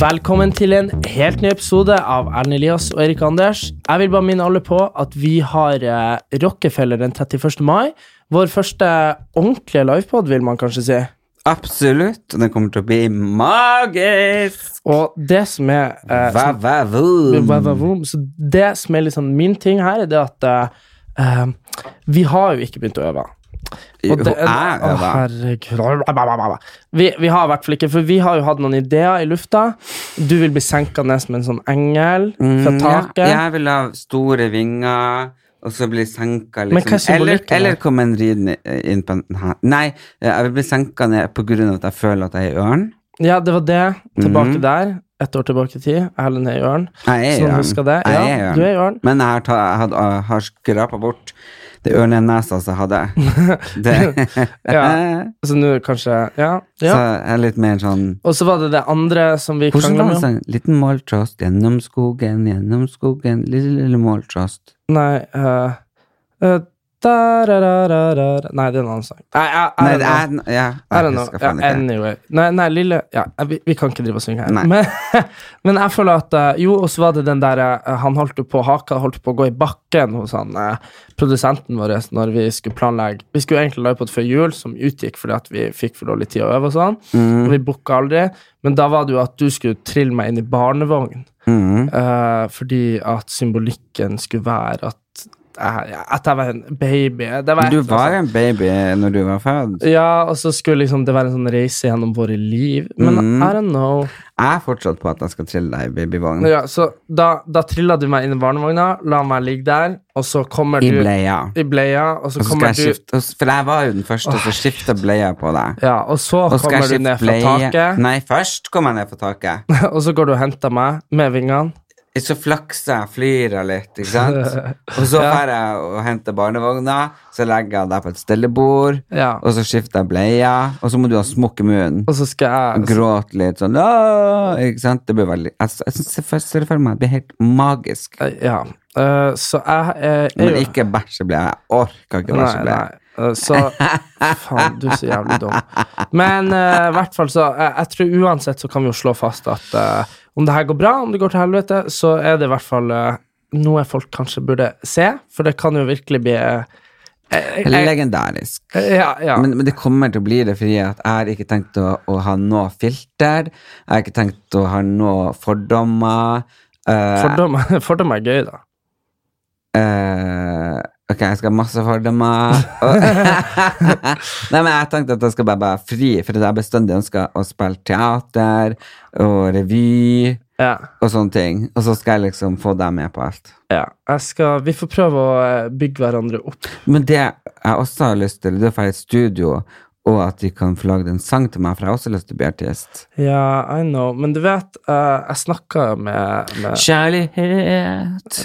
Velkommen til en helt ny episode av Erlend Elias og Erik Anders. Jeg vil bare minne alle på at vi har eh, Rockefeller den 31. mai. Vår første ordentlige livepod, vil man kanskje si. Absolutt. Og den kommer til å bli magisk. Og det som er eh, Hva, hva, Wow, wow, voom. wow. Så det som er liksom min ting her, er det at eh, eh, vi har jo ikke begynt å øve. Jo, det- jeg Å, øver. herregud. Vi, vi har i hvert fall ikke, for vi har jo hatt noen ideer i lufta. Du vil bli senka ned som en sånn engel fra Mm, ja, taket. Jeg vil ha store vinger, og så bli senka Men hva er liksom. Eller, symbolikken her? eller komme en ridende inn på en hæ- Nei, jeg vil bli senka ned på grunn av at jeg føler at jeg er i ørn. Ja, det var det. Tilbake Mhm. der. Ett år tilbake i tid. Jeg holder ned i ørn. Jeg er Så i du ørn. husker det? Jeg Ja, er i ørn. du er i ørn. Men jeg har, ta, jeg had, jeg har skrapa bort det ørnenesa som jeg hadde. Det. Ja. Så nå kanskje Ja. Så ja. jeg er litt mer sånn Og så var det det andre som vi Hvordan krangla var med. det om. sånn? Liten måltrost gjennom skogen, gjennom skogen, lille, lille måltrost. Nei eh, eh, da, ra, ra, ra, ra, ra. Nei, det er en annen sang. Nei, jeg, Nei, jeg, det jeg, er Ja, I don't jeg know. husker Ja, faen ikke. anyway. Nei, nei lille ja, vi, vi kan ikke drive og synge her. Nei. Men, men jeg føler at eh, Jo, og så var det den der eh, Han holdt jo på haka, holdt på å gå i bakken hos han eh, produsenten vår når vi skulle planlegge Vi skulle egentlig lage på et før jul, som utgikk fordi at vi fikk for dårlig tid å øve og sånn. Og Mm, vi booka aldri. Men da var det jo at du skulle trille meg inn i barnevogn. mm. eh, fordi at symbolikken skulle være at jeg, at jeg var en baby. Det var et Du eller annet var en baby når du var født. ja, og så skulle liksom det være en sånn reise gjennom våre liv. Men Mhm. I don't know. Jeg er fortsatt på at jeg skal trille deg i babyvogn. Ja, så da, da trilla du meg inn i barnevogna, la meg ligge der, og så kommer I du bleia. i bleia, og så Og så skal kommer jeg du skifte og s- For jeg var jo den første som skifta bleia på deg. ja, og så Og så skal jeg kommer du skifte ned fra bleie taket, Nei, først kom jeg ned fra taket. og så går du og henter meg med vingene. Så flakser jeg, flyr jeg litt, ikke sant? Og så Ja. drar jeg og henter barnevogna, så legger jeg deg på et stellebord, Ja. og så skifter jeg bleia, og så må du ha smokk i munnen. Og så skal Og jeg gråte litt sånn «Åh!» Ikke sant? Det blir veldig Jeg, jeg synes jeg først ser det for meg, det blir helt magisk. Ja. eh, så jeg eh, er Men jo- ikke bæsjebleie. Jeg orker ikke Nei, bæsjebleie. nei. Eh, Så Faen, du er så jævlig dum. Men eh, i hvert fall så eh, Jeg tror uansett så kan vi jo slå fast at eh, om det her går bra, om det går til helvete, så er det i hvert fall eh, noe folk kanskje burde se, for det kan jo virkelig bli eh, eh, eh, Legendarisk. Ja, ja. Men, men det kommer til å bli det, fordi at jeg har ikke tenkt å, å ha noe filter. Jeg har ikke tenkt å ha noe fordommer. Eh, Fordommer fordom er gøy, da. eh, ok, jeg skal ha masse fordommer. Og- Nei, men jeg tenkte at jeg skal bare være fri, for jeg har bestandig ønska å spille teater og revy Ja, og sånne ting. Og så skal jeg liksom få deg med på alt. ja. Jeg skal, vi får prøve å eh, bygge hverandre opp. Men det jeg også har lyst til, det er å få et studio, og at de kan få lagd en sang til meg, for jeg har også lyst til å bli artist. Ja, I know. Men du vet, eh, jeg snakka med, med Kjærlighet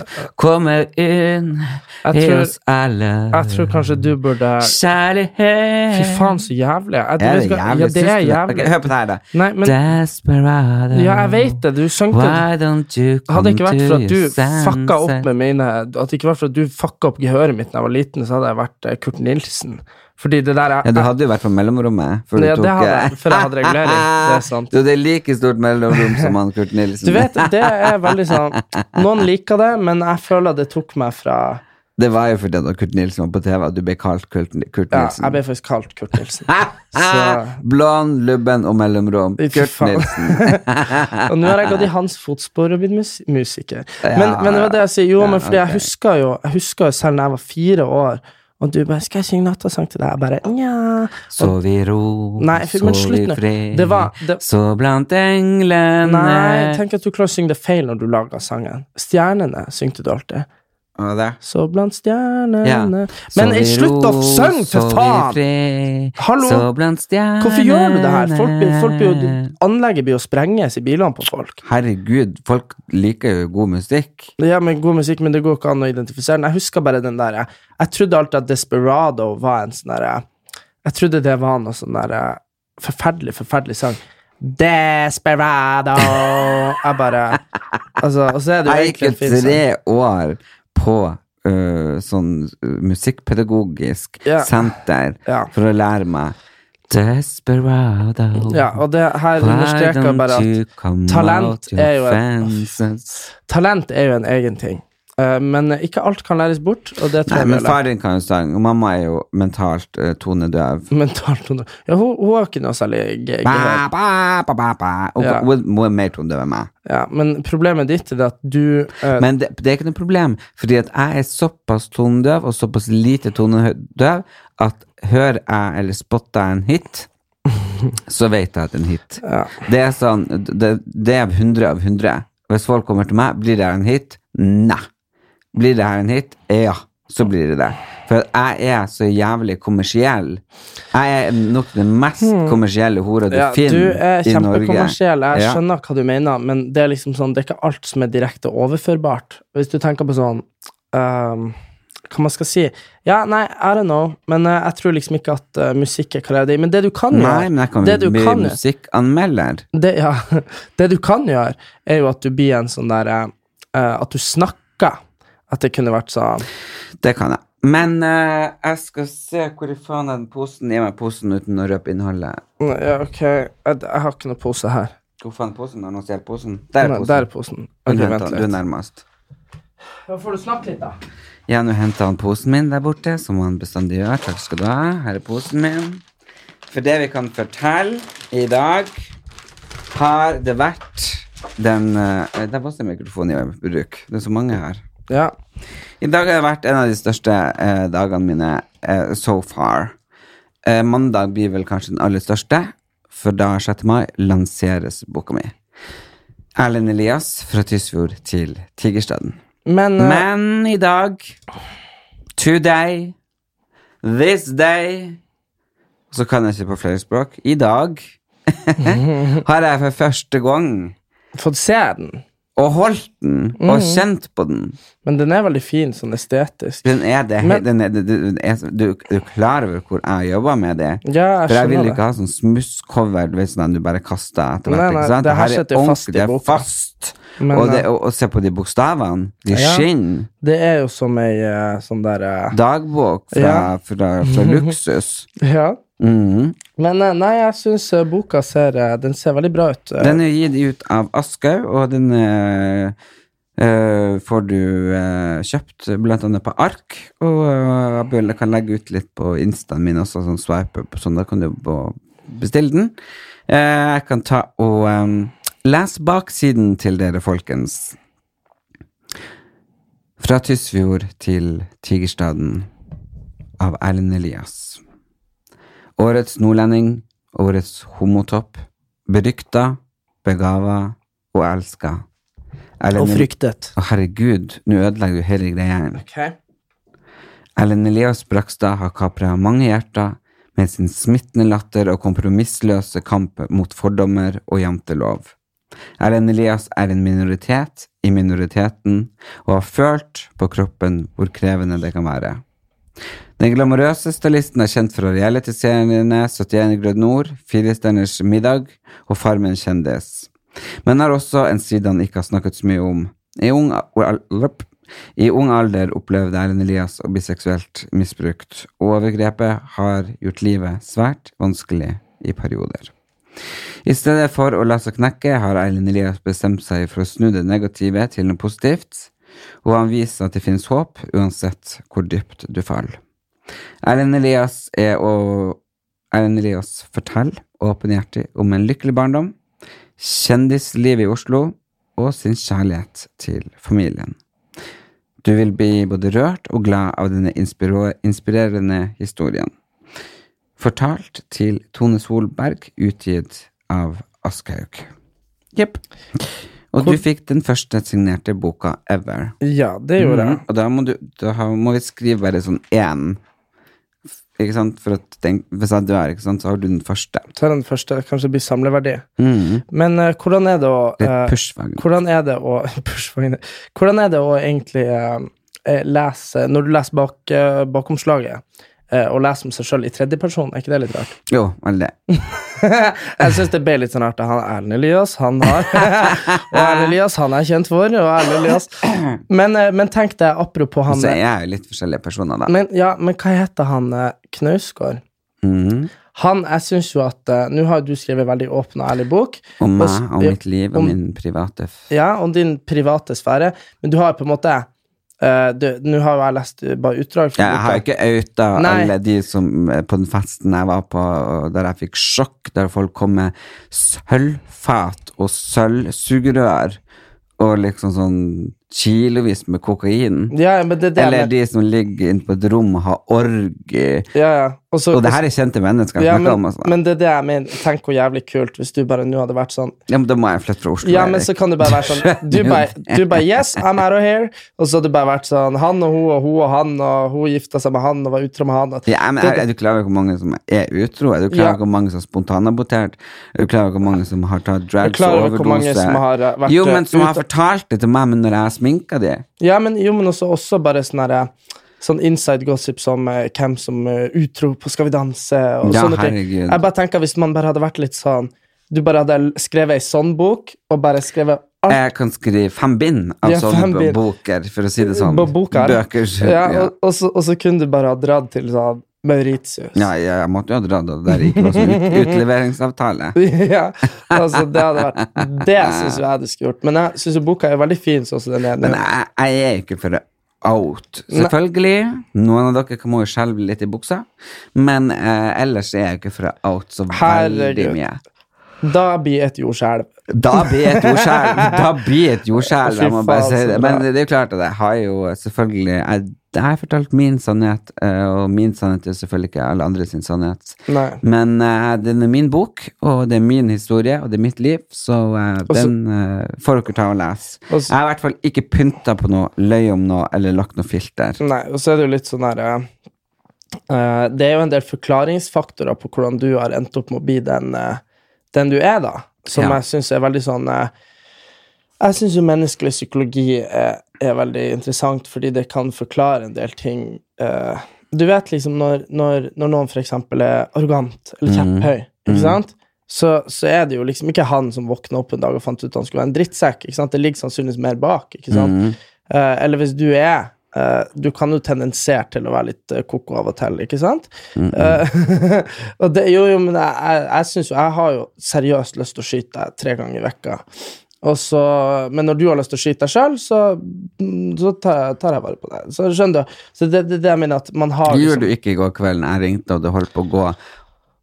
kommer inn Jeg tror- alle. Jeg tror kanskje du burde Kjærlighet Fy faen, så jævlig. Jeg, Er det vet hva- jævlig? Ja, det er Syns du jævlig. Ok, hør på det her, da. Nei, men Desperado. Ja, jeg vet det. Du sang det. Why don't you come Hadde det ikke vært for at to du your fucka opp senses? med mine At det ikke vært for at du fucka opp gehøret mitt da jeg var liten, så hadde jeg vært eh, Kurt Nilsen. Fordi det der er Ja, du hadde jo vært på mellomrommet. Før du Ja, det tok, hadde jeg, før jeg hadde regulering. Det er sant. Du, det er like stort mellomrom som han Kurt Nilsen. Du vet, det er veldig sånn Noen liker det, men jeg føler det tok meg fra Det var jo fordi da Kurt Nilsen var på TV at du ble kalt Kurt, Kurt Ja, Nilsen. jeg ble faktisk kalt Kurt Nilsen. Ah, Blond, lubben og mellomrom. Fy Kurt faen. Nilsen. Og nå har jeg gått i hans fotspor og blitt mus musiker. Ja, Men, men det var det jeg sier. Jo, ja, men fordi ok. jeg husker jo Jeg husker jo selv da jeg var fire år, og du bare 'Skal jeg synge nattasang til deg?' Jeg bare nja. Sov i ro, Nei, fy- men sov slutt i nå. fred. Det var- det- Så blant englene Nei, tenk at du klarer å synge det feil når du lager sangen. Stjernene syngte du alltid. Og det. Så blant stjernene Ja. Men Så eh, vi slutt å ro, synge, så for vi faen! fri, Hallo? Så blant stjernene Hvorfor gjør du det her? Folk blir, folk blir, jo- anlegget blir jo sprenges i bilene på folk. Herregud, folk liker jo god musikk. Ja, men god musikk, men det går ikke an å identifisere den. Jeg husker bare den der Jeg, jeg trodde alltid at Desperado var en sånn derre Jeg trodde det var noe sånn derre forferdelig, forferdelig sang. Desperado Jeg bare Altså, og så er det jo Jeg gikk jo egentlig en fin sang. tre år på øh, sånn øh, musikkpedagogisk Ja. senter Ja. for å lære meg Desperado. ja, og det her understreker bare at talent er jo et- talent er jo en egen ting. Eh, men ikke alt kan læres bort, og det tror Nei, jeg men vel er far din kan jo sang, og mamma er jo mentalt uh, tonedøv. mentalt noe- Ja, hun, hun har ikke noe særlig ge- Ba, gehør. ba, ba, ba, ba. Og, Ja. hun, hun er mer tonedøv enn meg. Ja, men problemet ditt er det at du eh, Men det, det er ikke noe problem, fordi at jeg er såpass tonedøv og såpass lite tonedøv at hører jeg eller spotter jeg en hit, så vet jeg at det er en hit. Ja. Det er sånn, det, det er 100 av 100. Hvis folk kommer til meg, blir det her en hit? Nei. Blir det her en hit? Ja. Så blir det det. For jeg er så jævlig kommersiell. Jeg er nok den mest kommersielle hora du Hmm. Ja, du er finner i Norge. kjempekommersiell, jeg Ja. skjønner hva du mener, men det er liksom sånn, det er ikke alt som er direkte overførbart. Hvis du tenker på sånn ehm, Hva man skal si Ja, nei, I don't know, men eh, jeg tror liksom ikke at eh, musikk er karrieren din. Men det du kan Nei, men jeg gjøre kan Det du bli kan gjøre musikkanmelder. det, ja, det du kan gjøre, er jo at du blir en sånn derre At du snakker. At det kunne vært sånn Det kan jeg. Men eh, jeg skal se hvor i faen er den posen. Gi meg posen uten å røpe innholdet. mm, Ja, ok, jeg, jeg har ikke noe pose her. Hvor faen er posen? Har noen stjålet posen? Der er Nei, posen. Der er posen. Nå Ok, henter vent han, du er litt. nærmest. Da får du snakke litt, da. Ja, nå henter han posen min der borte, som han bestandig gjør. Takk skal du ha. Her er posen min. For det vi kan fortelle i dag, har det vært den eh, Der var også en mikrofon i bruk. Det er så mange her. Ja. I dag har det vært en av de største eh, dagene mine eh, so far. Eh, mandag blir vel kanskje den aller største, for da 6. mai lanseres boka mi. Erlend Elias fra Tysfjord til Tigerstaden. Men, eh, Men i dag Today This day Så kan jeg ikke på flere språk I dag Har jeg for første gang fått se den. Og holdt den Og kjent på den Men den er veldig fin sånn estetisk. Den er det Men- den er, det- det- det er, du, du er klar over hvor jeg jobber med det Ja, jeg For jeg vil skjønner ikke ha sånn smusscover Du vet sånn at du bare kaster etter Nei, hvert nei, ikke sant? det her er sitter jo fast i ordentlig, det er boka. fast. Men, og, det, eh, og, og se på de bokstavene De Ja. skinn Det er jo som ei eh, sånn derre Dagbok fra, Ja. fra, fra luksus Ja. Mhm. Men eh, nei, jeg syns boka ser eh, Den ser veldig bra ut. eh. Den er gitt ut av Aschehoug, og den eh, eh, får du eh, kjøpt blant annet på ark. Og eh, Abul, jeg kan legge ut litt på instaen min også, sånn swipe up, sånn, da kan du bo- bestille den. Eh, jeg kan ta og eh, lese baksiden til dere, folkens. Fra Tysfjord til Tigerstaden av Erlend Elias. Årets nordlending, årets homotopp. Berykta, begava og elska. og Erlend- fryktet. Å, herregud, nå ødelegger du hele greia. her. Ok. Erlend Elias Brakstad har kapra mange hjerter med sin smittende latter og kompromissløse kamp mot fordommer og jantelov. Erlend Elias er en minoritet i minoriteten og har følt på kroppen hvor krevende det kan være. Den glamorøse stylisten er kjent fra realityseriene 71 grad nord, Firestjerners middag og Farmen kjendis, men har også en side han ikke har snakket så mye om. I ung, al- al- i ung alder opplevde Erlend Elias å bli seksuelt misbrukt, og overgrepet har gjort livet svært vanskelig i perioder. I stedet for å la seg knekke, har Erlend Elias bestemt seg for å snu det negative til noe positivt, og han viser at det finnes håp uansett hvor dypt du faller. Erlend Elias er å Erlend Elias forteller åpenhjertig om en lykkelig barndom, kjendislivet i Oslo og sin kjærlighet til familien. Du vil bli både rørt og glad av denne inspiro- inspirerende historien. Fortalt til Tone Solberg, utgitt av Aschehoug. Jepp. Og du fikk den første signerte boka ever. Ja, det gjorde jeg. Mhm. Og da må, du, da har- må vi skrive bare sånn én. Ikke sant? For at den, hvis jeg dør, ikke sant, så har du den første. Så er den første. Kanskje det blir samleverdi. Mhm. Men eh, hvordan er det å Det er eh, et pushwagon. Hvordan er det å Pushvagner. Hvordan er det å egentlig eh, eh, lese Når du leser bak, eh, bakomslaget, eh, og leser om seg sjøl i tredjeperson, er ikke det litt rart? Jo, veldig. Jeg syns det ble litt sånn rart. Han er Erlend Elias, han har Og Erlend Elias, han er kjent for, og Erlend Elias Men, eh, men tenk deg, apropos Og han eh, så er jeg jo litt forskjellige personer, da. men, ja, men hva heter han eh, Knausgård? Mhm. Han, jeg syns jo at eh, Nå har jo du skrevet veldig åpen og ærlig bok. Om Og s- meg, om ja, mitt liv, om om- min private f- Ja, om din private sfære, men du har på en måte eh, du- Nå har jo jeg lest eh, bare utdrag. fra ja, Jeg har jo boka. ikke outa Nei. alle de som eh, på den festen jeg var på, og der jeg fikk sjokk, der folk kom med sølvfat og sølvsugerør og liksom sånn kilovis med kokain. Ja, men det er det jeg Eller mener. de som ligger inne på et rom og har orgi. ja, ja. Og så- Og det her er kjente mennesker. ja, Ja, men, om, altså. men det er det jeg mener. Tenk hvor jævlig kult hvis du bare nå hadde vært sånn ja, men da må jeg flytte fra Oslo. Ja, men Erik. så kan du bare være sånn Du bare, du bare Yes, I'm out of here. Og så hadde du bare vært sånn Han og hun og hun og han, og hun gifta seg med han og var utro med han. At, ja, men er, er du klar over hvor mange som er utro? Er du klar over Ja. hvor mange som har spontanabotert? Er du klar over hvor mange som har tatt Jeg er drugs klar og over hvor mange overdose? som har eh, vært Jo, men som eh, har ute- fortalt det til meg, men når jeg har sminka de Ja, men jo, men også, også bare sånn herre Sånn inside gossip som eh, hvem som eh, utro på Skal vi danse og Ja, sånne ting. herregud. Jeg bare tenker Hvis man bare hadde vært litt sånn Du bare hadde l- skrevet ei sånn bok, og bare skrevet alt Jeg kan skrive fem bind av Ah. Ja, sånne fem b- bind. boker, for å si det sånn. på boka. Bøker. Ja, Ja, og, og, så, og så kunne du bare ha dratt til sånn Mauritius. ja, jeg måtte jo ha dratt av det der. Ikke også ut, utleveringsavtale. Ja, altså, det hadde vært Det syns jeg du skulle gjort. Men jeg syns jo boka er veldig fin sånn som den er. nå. Men jeg, jeg er jo ikke for out. Selvfølgelig. Noen av dere kan- må jo skjelve litt i buksa, men eh, ellers er jeg ikke for out så veldig Herregud. mye. Da blir et jordskjelv. Da blir et jordskjelv! Da blir et jordskjelv, jeg må Fy bare faen, si så det. bra. Men det er jo klart at jeg har jo selvfølgelig Jeg, jeg har fortalt min sannhet, eh, og min sannhet er selvfølgelig ikke alle andre sin sannhet. Nei. Men eh, den er min bok, og det er min historie, og det er mitt liv, så eh, Og så- den eh, får dere ta og lese. Og så- Jeg har i hvert fall ikke pynta på noe, løy om noe, eller lagt noe filter. liksom, Nei, og så er det jo litt sånn her eh, Det er jo en del forklaringsfaktorer på hvordan du har endt opp med å bli den, eh, den du er, da. Som Ja. jeg syns er veldig sånn eh, Jeg syns jo menneskelig psykologi er, er veldig interessant, fordi det kan forklare en del ting. eh, du vet liksom når, når, når noen f.eks. er arrogant eller Mhm. Mhm. kjepphøy, ikke sant? Så, så er det jo liksom ikke han som våkna opp en dag og fant ut han skulle være en drittsekk. ikke sant? Det ligger sannsynligvis mer bak. ikke sant? Mhm. Eh, eller hvis du er eh, Du kan jo tendensere til å være litt eh, koko av og til, ikke sant? Eh, og det, jo, jo, men jeg, jeg, jeg synes jo Jeg har jo seriøst lyst til å skyte deg tre ganger i vekka. Og så, men når du har lyst til å skyte deg sjøl, så, mm, så tar, tar jeg vare på deg. Så skjønner du. Så det er det, er det jeg mener at man har liksom- Det gjorde du ikke i går kveld når jeg ringte, og det holdt på å gå over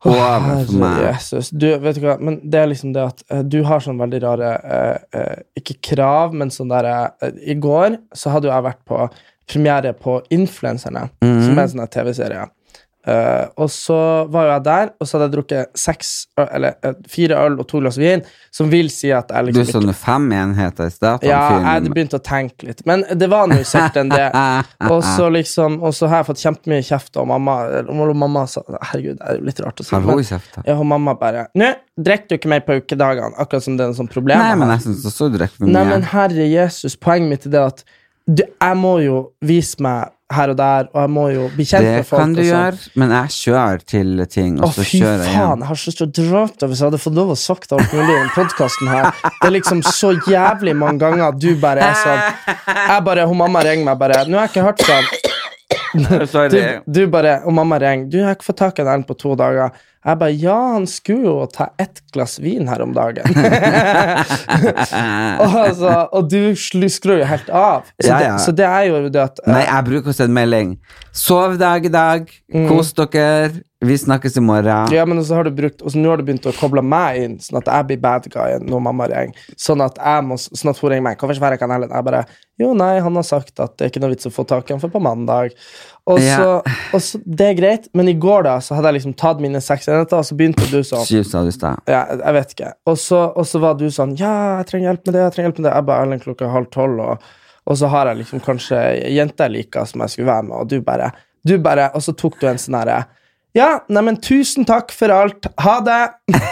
for meg. Herre Jesus. Du, vet du hva, men det er liksom det at eh, du har sånn veldig rare eh, eh, Ikke krav, men sånn derre eh, I går så hadde jo jeg vært på premiere på Influencerne, som er en sånn her TV-serie. Eh, og så var jo jeg der, og så hadde jeg drukket seks, ø- eller eh, fire øl og to glass vin, som vil si at jeg Du sånn liksom ikke- så noe fem enheter i stad. ja, jeg han hadde fyren. begynt å tenke litt. Men det var nå sikkert enn det. Og så liksom, og så har jeg fått kjempemye kjeft av mamma. Og mamma sa Herregud, det er jo litt rart å si. Har men- hun i kjefta? ja, og mamma bare Nå drikker du ikke mer på ukedagene, akkurat som det er noe sånt problem. Nei, jeg men har.» jeg syns også du drikker for Nei, men mye. herre Jesus, poenget mitt er det at du, jeg må jo vise meg her og der, og jeg må jo bli kjent Det med folk. kan du og sånn. gjøre, men jeg kjører til ting, Å, og så fy kjører jeg faen, hjem. jeg har så lyst til å drate hvis jeg hadde fått lov å sagt alt mulig i den podkasten her. Det er liksom så jævlig mange ganger at du bare er sånn Jeg bare, hun Mamma ringer meg bare 'Nå har jeg ikke hørt fra han.' Sorry. du, du bare, og mamma ringer. Du jeg har ikke fått tak i den på to dager. Jeg bare, ja, han skulle jo ta ett glass vin her om dagen. og, altså, og du slu- skrur jo helt av. Så, Ja, ja. Det, så det er jo det at eh, Mm. Nei, jeg bruker å sende melding. Sov dag i dag. Kos dere. Vi snakkes i morgen. eh, Ja, men så har du brukt, og så nå har du begynt å koble meg inn, sånn at jeg blir bad guyen når mamma ringer. Sånn at, jeg må, sånn at hun ringer meg. Hvorfor ikke være i kanalen? Jeg bare Jo, nei, han har sagt at det er ikke noe vits å få tak i han for på mandag. Og så, Ja. og så Det er greit, men i går da, så hadde jeg liksom tatt mine seks enheter, og så begynte du sånn Syv, sa du i stad. ja, jeg vet ikke. Og så, og så var du sånn Ja, jeg trenger hjelp med det. Jeg trenger hjelp med det Jeg bare Erlend klokka er halv tolv, og, og så har jeg liksom kanskje ei jente jeg liker, som jeg skulle være med, og du bare, du bare Og så tok du en sånn herre Ja, neimen, tusen takk for alt. Ha det!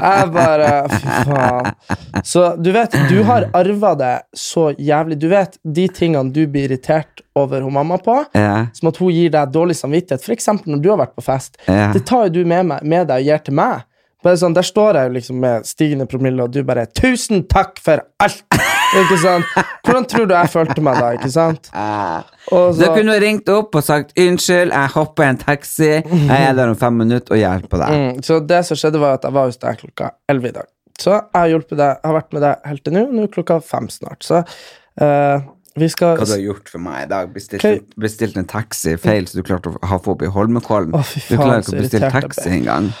jeg bare Fy faen. Så du vet, du har arva det så jævlig. Du vet de tingene du blir irritert over hun mamma på, Ja. som at hun gir deg dårlig samvittighet, f.eks. når du har vært på fest. Ja. Det tar jo du med, meg, med deg og gir til meg. Bare sånn, Der står jeg jo liksom med stigende promille, og du bare 'Tusen takk for alt!' ikke sant? Hvordan tror du jeg følte meg da? ikke sant? Og Du så, kunne ringt opp og sagt 'unnskyld, jeg hopper i en taxi', jeg er der om fem minutter og hjelper deg. mm, så det som skjedde, var at jeg var hos deg klokka 11 i dag. Så jeg har hjulpet deg, jeg har vært med deg helt til nå. Nå er klokka fem snart. Så eh, vi skal Hva du har gjort for meg i dag? Bestilt, Ok. bestilt en taxi feil, så du klarte å ha få opp i Holmenkollen. Å, fy du faen, klarer så ikke å bestille irritert jeg taxi ble. engang.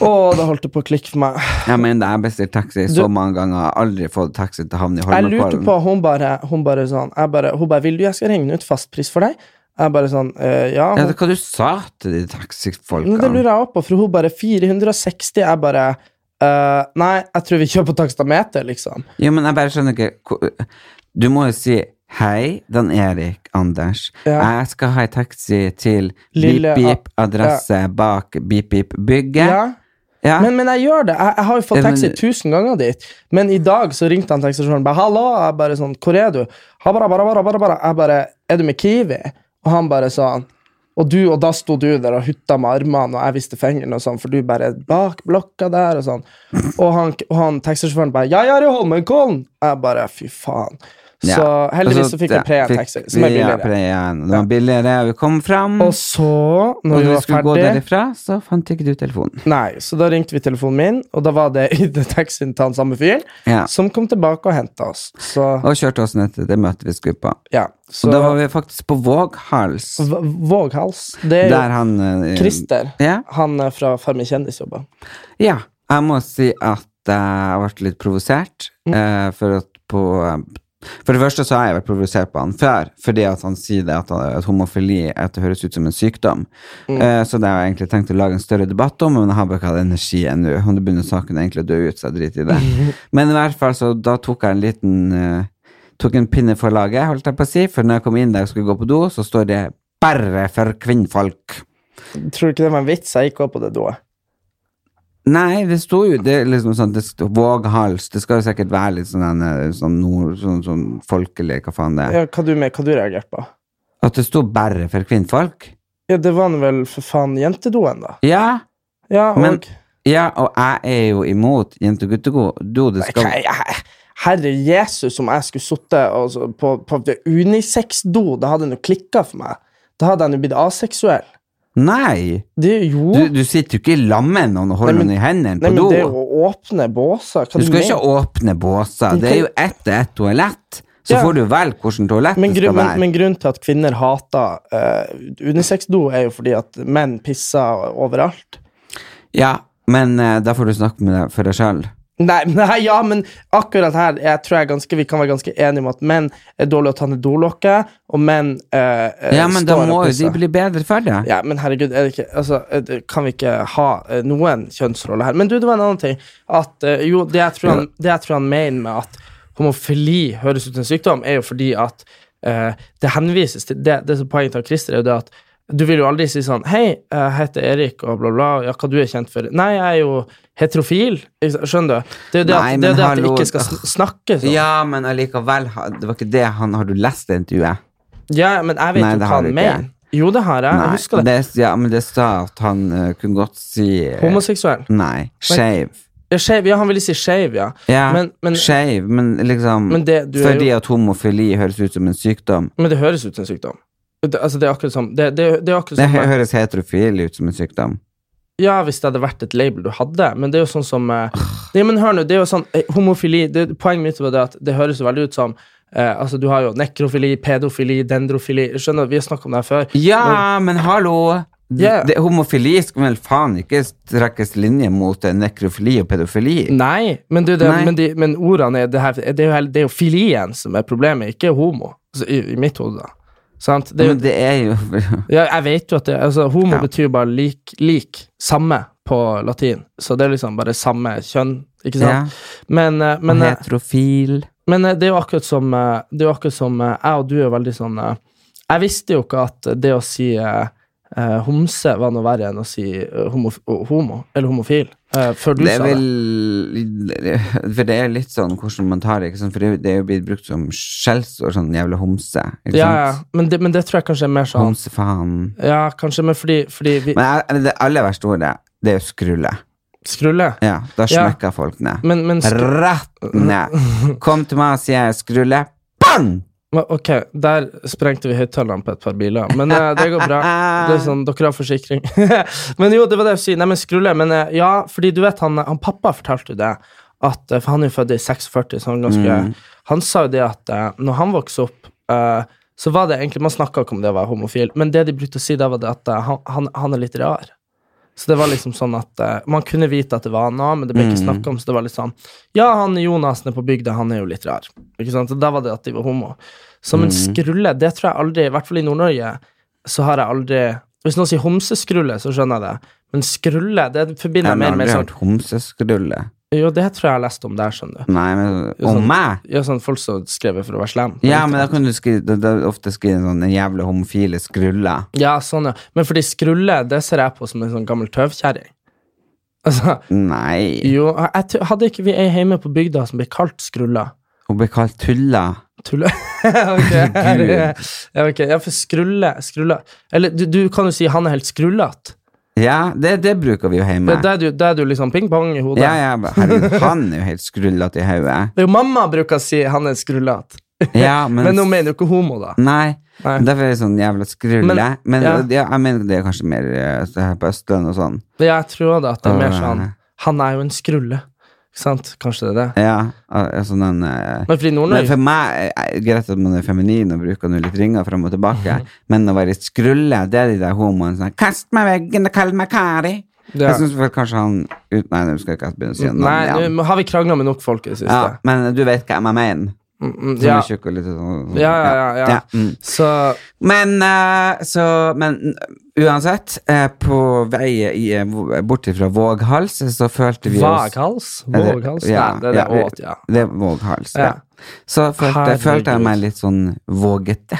Å, det holdt det på å klikke for meg. Jeg mener det, jeg har bestilt taxi så Du- mange ganger, jeg har aldri fått taxi til havn i Jeg lurte Holmenkollen. på, hun bare, hun bare sånn jeg bare, Hun bare 'Vil du jeg skal regne ut fastpris for deg?' Jeg bare sånn eh, Ja, Ja. Hun, det, hva du sa til de Men det taxifolkene? lurer jeg også på, for hun bare 460. Jeg bare eh, Nei, jeg tror vi kjører på takstameter, liksom. Jo, men jeg bare skjønner ikke hvor- Du må jo si 'Hei, Dan Erik Anders. Ja. Jeg skal ha ei taxi til Lille- beep-beep adresse bak beep-beep-bygget'. Ja. Ja. Men, men jeg gjør det. Jeg, jeg har jo fått Ja, men- taxi tusen ganger dit. Men i dag så ringte han taxisjåføren bare 'Hallo!' Jeg bare sånn 'Hvor er du?' Han bare, bare, bare, bare, bare. Jeg bare 'Er du med Kiwi?' Og han bare sånn og, du, og da sto du der og hutta med armene, og jeg viste fingeren, og sånn, for du bare bak blokka der, og sånn. Og han, og han taxisjåføren bare 'Jeg er i Holmenkollen!' Jeg bare 'Fy faen'. Ja. Så Og heldigvis så så fikk det- jeg Prea fikk taxi, som er vi billigere. Prea. Det var billigere, og vi kom fram. Og så, når og vi når vi var skulle gå ferdig derifra, så fant ikke du telefonen. Nei, så da ringte vi telefonen min, og da var det i den taxien til han samme fyren, Ja. som kom tilbake og henta oss. Så Og kjørte oss ned til det møtet vi skulle på. ja. Og Så da var vi faktisk på Våghals. V- Våghals. Det er jo Der han eh, Christer. Ja. Han er fra Farmen kjendisjobber. ja. Jeg må si at eh, jeg ble litt provosert. eh, for at på eh, For det første så har jeg vært provosert på han før, fordi at han sier det at, at homofili at det høres ut som en sykdom. Eh, så det har jeg egentlig tenkt å lage en større debatt om, men jeg har bare ikke hatt energi ennå. Og det begynner saken egentlig å dø ut, så jeg driter i det. men i hvert fall, så da tok jeg en liten eh, Tok en pinne for laget, holdt jeg på å si, for når jeg kom inn der og skulle gå på do, så står det 'bare for kvinnfolk'. Tror du ikke det var en vits? Jeg gikk opp på det doet. Nei, det sto jo det er liksom sånn det sto, Våghals. Det skal jo sikkert være litt sånn, en, eh, sånn, nord, sånn, sånn folkelig, hva faen det er. Ja, hva du med, hva du reagerte på? At det sto bare for kvinnfolk? Ja, det var nå vel for faen jentedoen, da. Ja. Ja, og Men- ja, og jeg er jo imot jente- og guttedo. Det skal Nei, jeg- Herre Jesus, om jeg skulle sittet på, på unisex-do, da hadde det nå klikka for meg. Da hadde jeg nå blitt aseksuell. Nei! Det jo Du, du sitter jo ikke i lammet med noen og holder Nei, men- noen i hendene Nei, på men do. det er jo å åpne båser. Hva Du skal mener? ikke åpne båser. Du Det er kan- jo ett og ett toalett. Så Ja. får du velge hvordan toalett men, det grunn, skal men, være. men grunnen til at kvinner hater uh, unisex-do, er jo fordi at menn pisser overalt. Ja, men eh, da får du snakke med deg for deg sjøl. Nei, nei, ja, men akkurat her jeg tror jeg ganske, vi kan være ganske enige om at menn er dårlige å ta ned dolokket, og menn eh, eh, Ja, men da står og må jo de pisser. bli bedre for det. Ja, men herregud, er det ikke, altså, eh, det- kan vi ikke ha eh, noen kjønnsrolle her? Men du, det var en annen ting. At, eh, jo, det jeg, tror han, det jeg tror han mener med at homofili høres ut som en sykdom, er jo fordi at eh, det henvises til Det, det som er poenget til Christer, er jo det at du vil jo aldri si sånn Hei, jeg heter Erik, og bla, bla. Ja, hva du er kjent for? Nei, jeg er jo heterofil. Ikke sant? Skjønner du? Det er jo det, Nei, at, det, men er jo det at det hallo, ikke skal sn- snakkes om. Ja. Ja, men allikevel ha- Det var ikke det han Har du lest det intervjuet? men jeg vet Nei, jo det hva har du han ikke. mener. Jo, det har jeg. Jeg husker det. ja, men det sa at han eh, kunne godt si eh, Homoseksuell. Nei, skeiv. Ja, skeiv. Ja, han ville si skeiv, ja. Ja, Men- men- skeiv, men liksom Men det, du er jo Fordi at homofili høres ut som en sykdom. Men det høres ut som en sykdom. Det, altså, det er akkurat som det, det, det er Det akkurat som hø- høres heterofil ut som en sykdom. Ja, hvis det hadde vært et label du hadde, men det er jo sånn som eh, Nei, men hør nå, det er jo sånn eh, Homofili det, Poenget mitt var det at det høres jo veldig ut som eh, Altså, du har jo nekrofili, pedofili, dendrofili Skjønner, du, vi har snakket om det her før. Ja, men hallo! Ja. Det, homofili skal vel faen ikke trekkes linje mot eh, nekrofili og pedofili. Nei, men, du, det, Nei. men, de, men ordene er det, her, det, er jo, hele- det er jo filien som er problemet, ikke homo. Altså, i, I mitt hode, da. Sant? Det, er jo- Men det er jo ja, jeg vet jo at det, altså, homo Ja. betyr bare lik, lik, samme på latin. Så det er liksom bare samme kjønn, ikke sant? ja, Men, eh, men, eh, Heterofil. men eh, det er jo akkurat som, eh, det er jo akkurat som eh, jeg og du er veldig sånn eh, Jeg visste jo ikke at det å si eh, eh, homse var noe verre enn å si eh, homo, homo eller homofil, eh, før du Det er sa det. vel For det er litt sånn hvordan man tar det, ikke sant? for det er jo- det er jo blitt brukt som skjellsord, sånn jævla homse. Ikke Ja, ja. sant? Men, det, men det tror jeg kanskje er mer sånn Homsefaen. Ja, kanskje, men fordi, fordi vi Men jeg- det aller verste ordet, det er jo skrulle. Skrulle? Ja, da Ja. smekker folk ned. Men, men skru, Mm. Rett ned. Kom til meg og si jeg er skrulle. Bang! men Ok, der sprengte vi høyttalerne på et par biler, men eh, det går bra. Det er sånn, Dere har forsikring. men jo, det var det jeg skulle si. Nei, men skrulle. Men eh, ja, fordi du vet, han, han pappa fortalte jo det, at, eh, for han er jo født i 46, så han er ganske Han sa jo det at eh, når han vokste opp, eh, så var det egentlig Man snakka ikke om det å være homofil, men det de brukte å si da, var det at eh, han, han, han er litt rar. Så det var liksom sånn at eh, Man kunne vite at det var han òg, men det ble ikke Mm. snakka om. Så det var litt sånn Ja, han Jonasen er på bygda, han er jo litt rar. Ikke sant? Og da var det at de var homo. Så men Mm. skrulle, det tror jeg aldri I hvert fall i Nord-Norge så har jeg aldri Hvis noen sier homseskrulle, så skjønner jeg det. Men skrulle, det Jeg forbinder har jeg mer aldri med sånn hørt homseskrulle. Jo, det tror jeg jeg leste om der, skjønner du. Nei, men Jo, sånn- om meg? Ja, sånn folk som skrev det for å være slem. Ja, men da kan du skrive, da, da ofte skrive en sånn en jævla homofile skrulle. Ja, sånn, ja. Men fordi skrulle, det ser jeg på som en sånn gammel tøvkjerring. Altså, Nei. jo, jeg, jeg tror- hadde ikke vi ei hjemme på bygda som ble kalt skrulla? Hun blir kalt tulla. Tulle? ok. ja, ok. Ja, for skrulle, skrulla Eller du, du kan jo si han er helt skrullete. Ja, det, det bruker vi jo hjemme. Ja, Da er du- da er du liksom ping-pong i hodet. Ja, ja, men herregud, han er jo helt skrullete i hodet. Det er jo mamma bruker å si han er skrullete, Ja, men, Mm. men hun mener jo ikke homo, da. Nei. Nei. Derfor er det sånn jævla skrulle. Men- Men, ja. ja, jeg mener det er kanskje mer eh, så her på Østlandet og sånn. Men Jeg tror da at det er mer sånn Øh. Han er jo en skrulle. Ikke sant? Kanskje det er det. Ja, al- altså den eh, Men fordi men Nord-Norge for meg eh, eh, Greit at man er feminin og bruker noe litt ringer fram og tilbake, Mhm. men å være skrulle, det er de der homoene sånn 'Kast meg i veggen og kall meg Kari'. Ja. Jeg syns vel kanskje han ut, Nei, nå skal jeg ikke begynne å si noe. Nei, nå har vi krangla med nok folk i det siste. ja, men du vet hva jeg mener. Mm, mm, Som ja. er tjukk og litt sånn Ja, ja, ja, ja. mm. Så Men, eh, så, men uansett, eh, på vei i, eh, bort fra Våghals, eh, så følte vi oss Vaghals? Er det- Våghals? ja, Nei, det er det ja, vi- åt, ja. Det er Våghals, ja. Ja. Så følte, Herregud. følte jeg meg litt sånn vågete.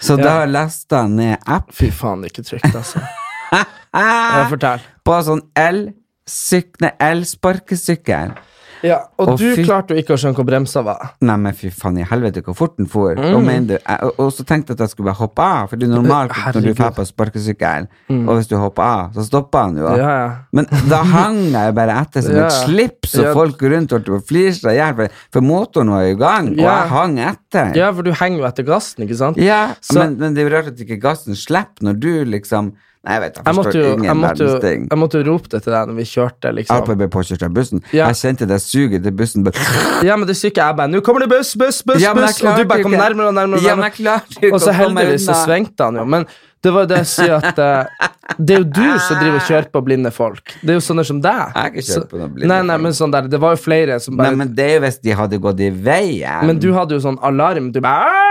Så Ja. da lasta jeg ned app Fy faen, det er ikke trygt, altså. Ja, ah, fortell. på sånn el- syk- nei, elsparkesykkel. Ja, og Å, du fy- klarte jo ikke å skjønne hvor bremsa var. Nei, men fy faen i helvete hvor fort den for. Mm. Og, mener du, jeg, og, og så tenkte jeg at jeg skulle bare hoppe av, for det er normalt når du Herregud. Mm. drar på sparkesykkel, og hvis du hopper av, så stopper han jo. Ja, ja. Men da hang jeg bare etter som Ja. et slips, og Ja. folk rundt holdt på å flire seg i hjel, for, for motoren var i gang, og Ja. jeg hang etter. Ja, for du henger jo etter gassen, ikke sant? Ja, Så- men, men det er jo rart at ikke gassen slipper når du liksom Nei, jeg vet, jeg Jeg måtte forstår jo, jeg ingen måtte jo, verdens ting. jeg måtte jo rope det til deg når vi kjørte, liksom. Alpa ble påkjørt av bussen. Ja. Jeg kjente det suget til bussen. Bare, Ja, men det syke er bare Nå kommer det buss, buss, buss, Ja, men jeg buss! Og klarte du bare kom ikke. nærmere og nærmere. og Ja, men nærmere. jeg klarte ikke Og så å komme heldigvis så unna. svingte han jo, men det var jo det jeg sier at eh, Det er jo du som driver og kjører på blinde folk. Det er jo sånne som deg. Ah. Jeg har ikke kjørt Så- på noen blinde Nei, nei, folk. men sånn der, det var jo flere som bare Nei, men det er jo hvis de hadde gått i veien. Men du hadde jo sånn alarm. Du bare «Aah!»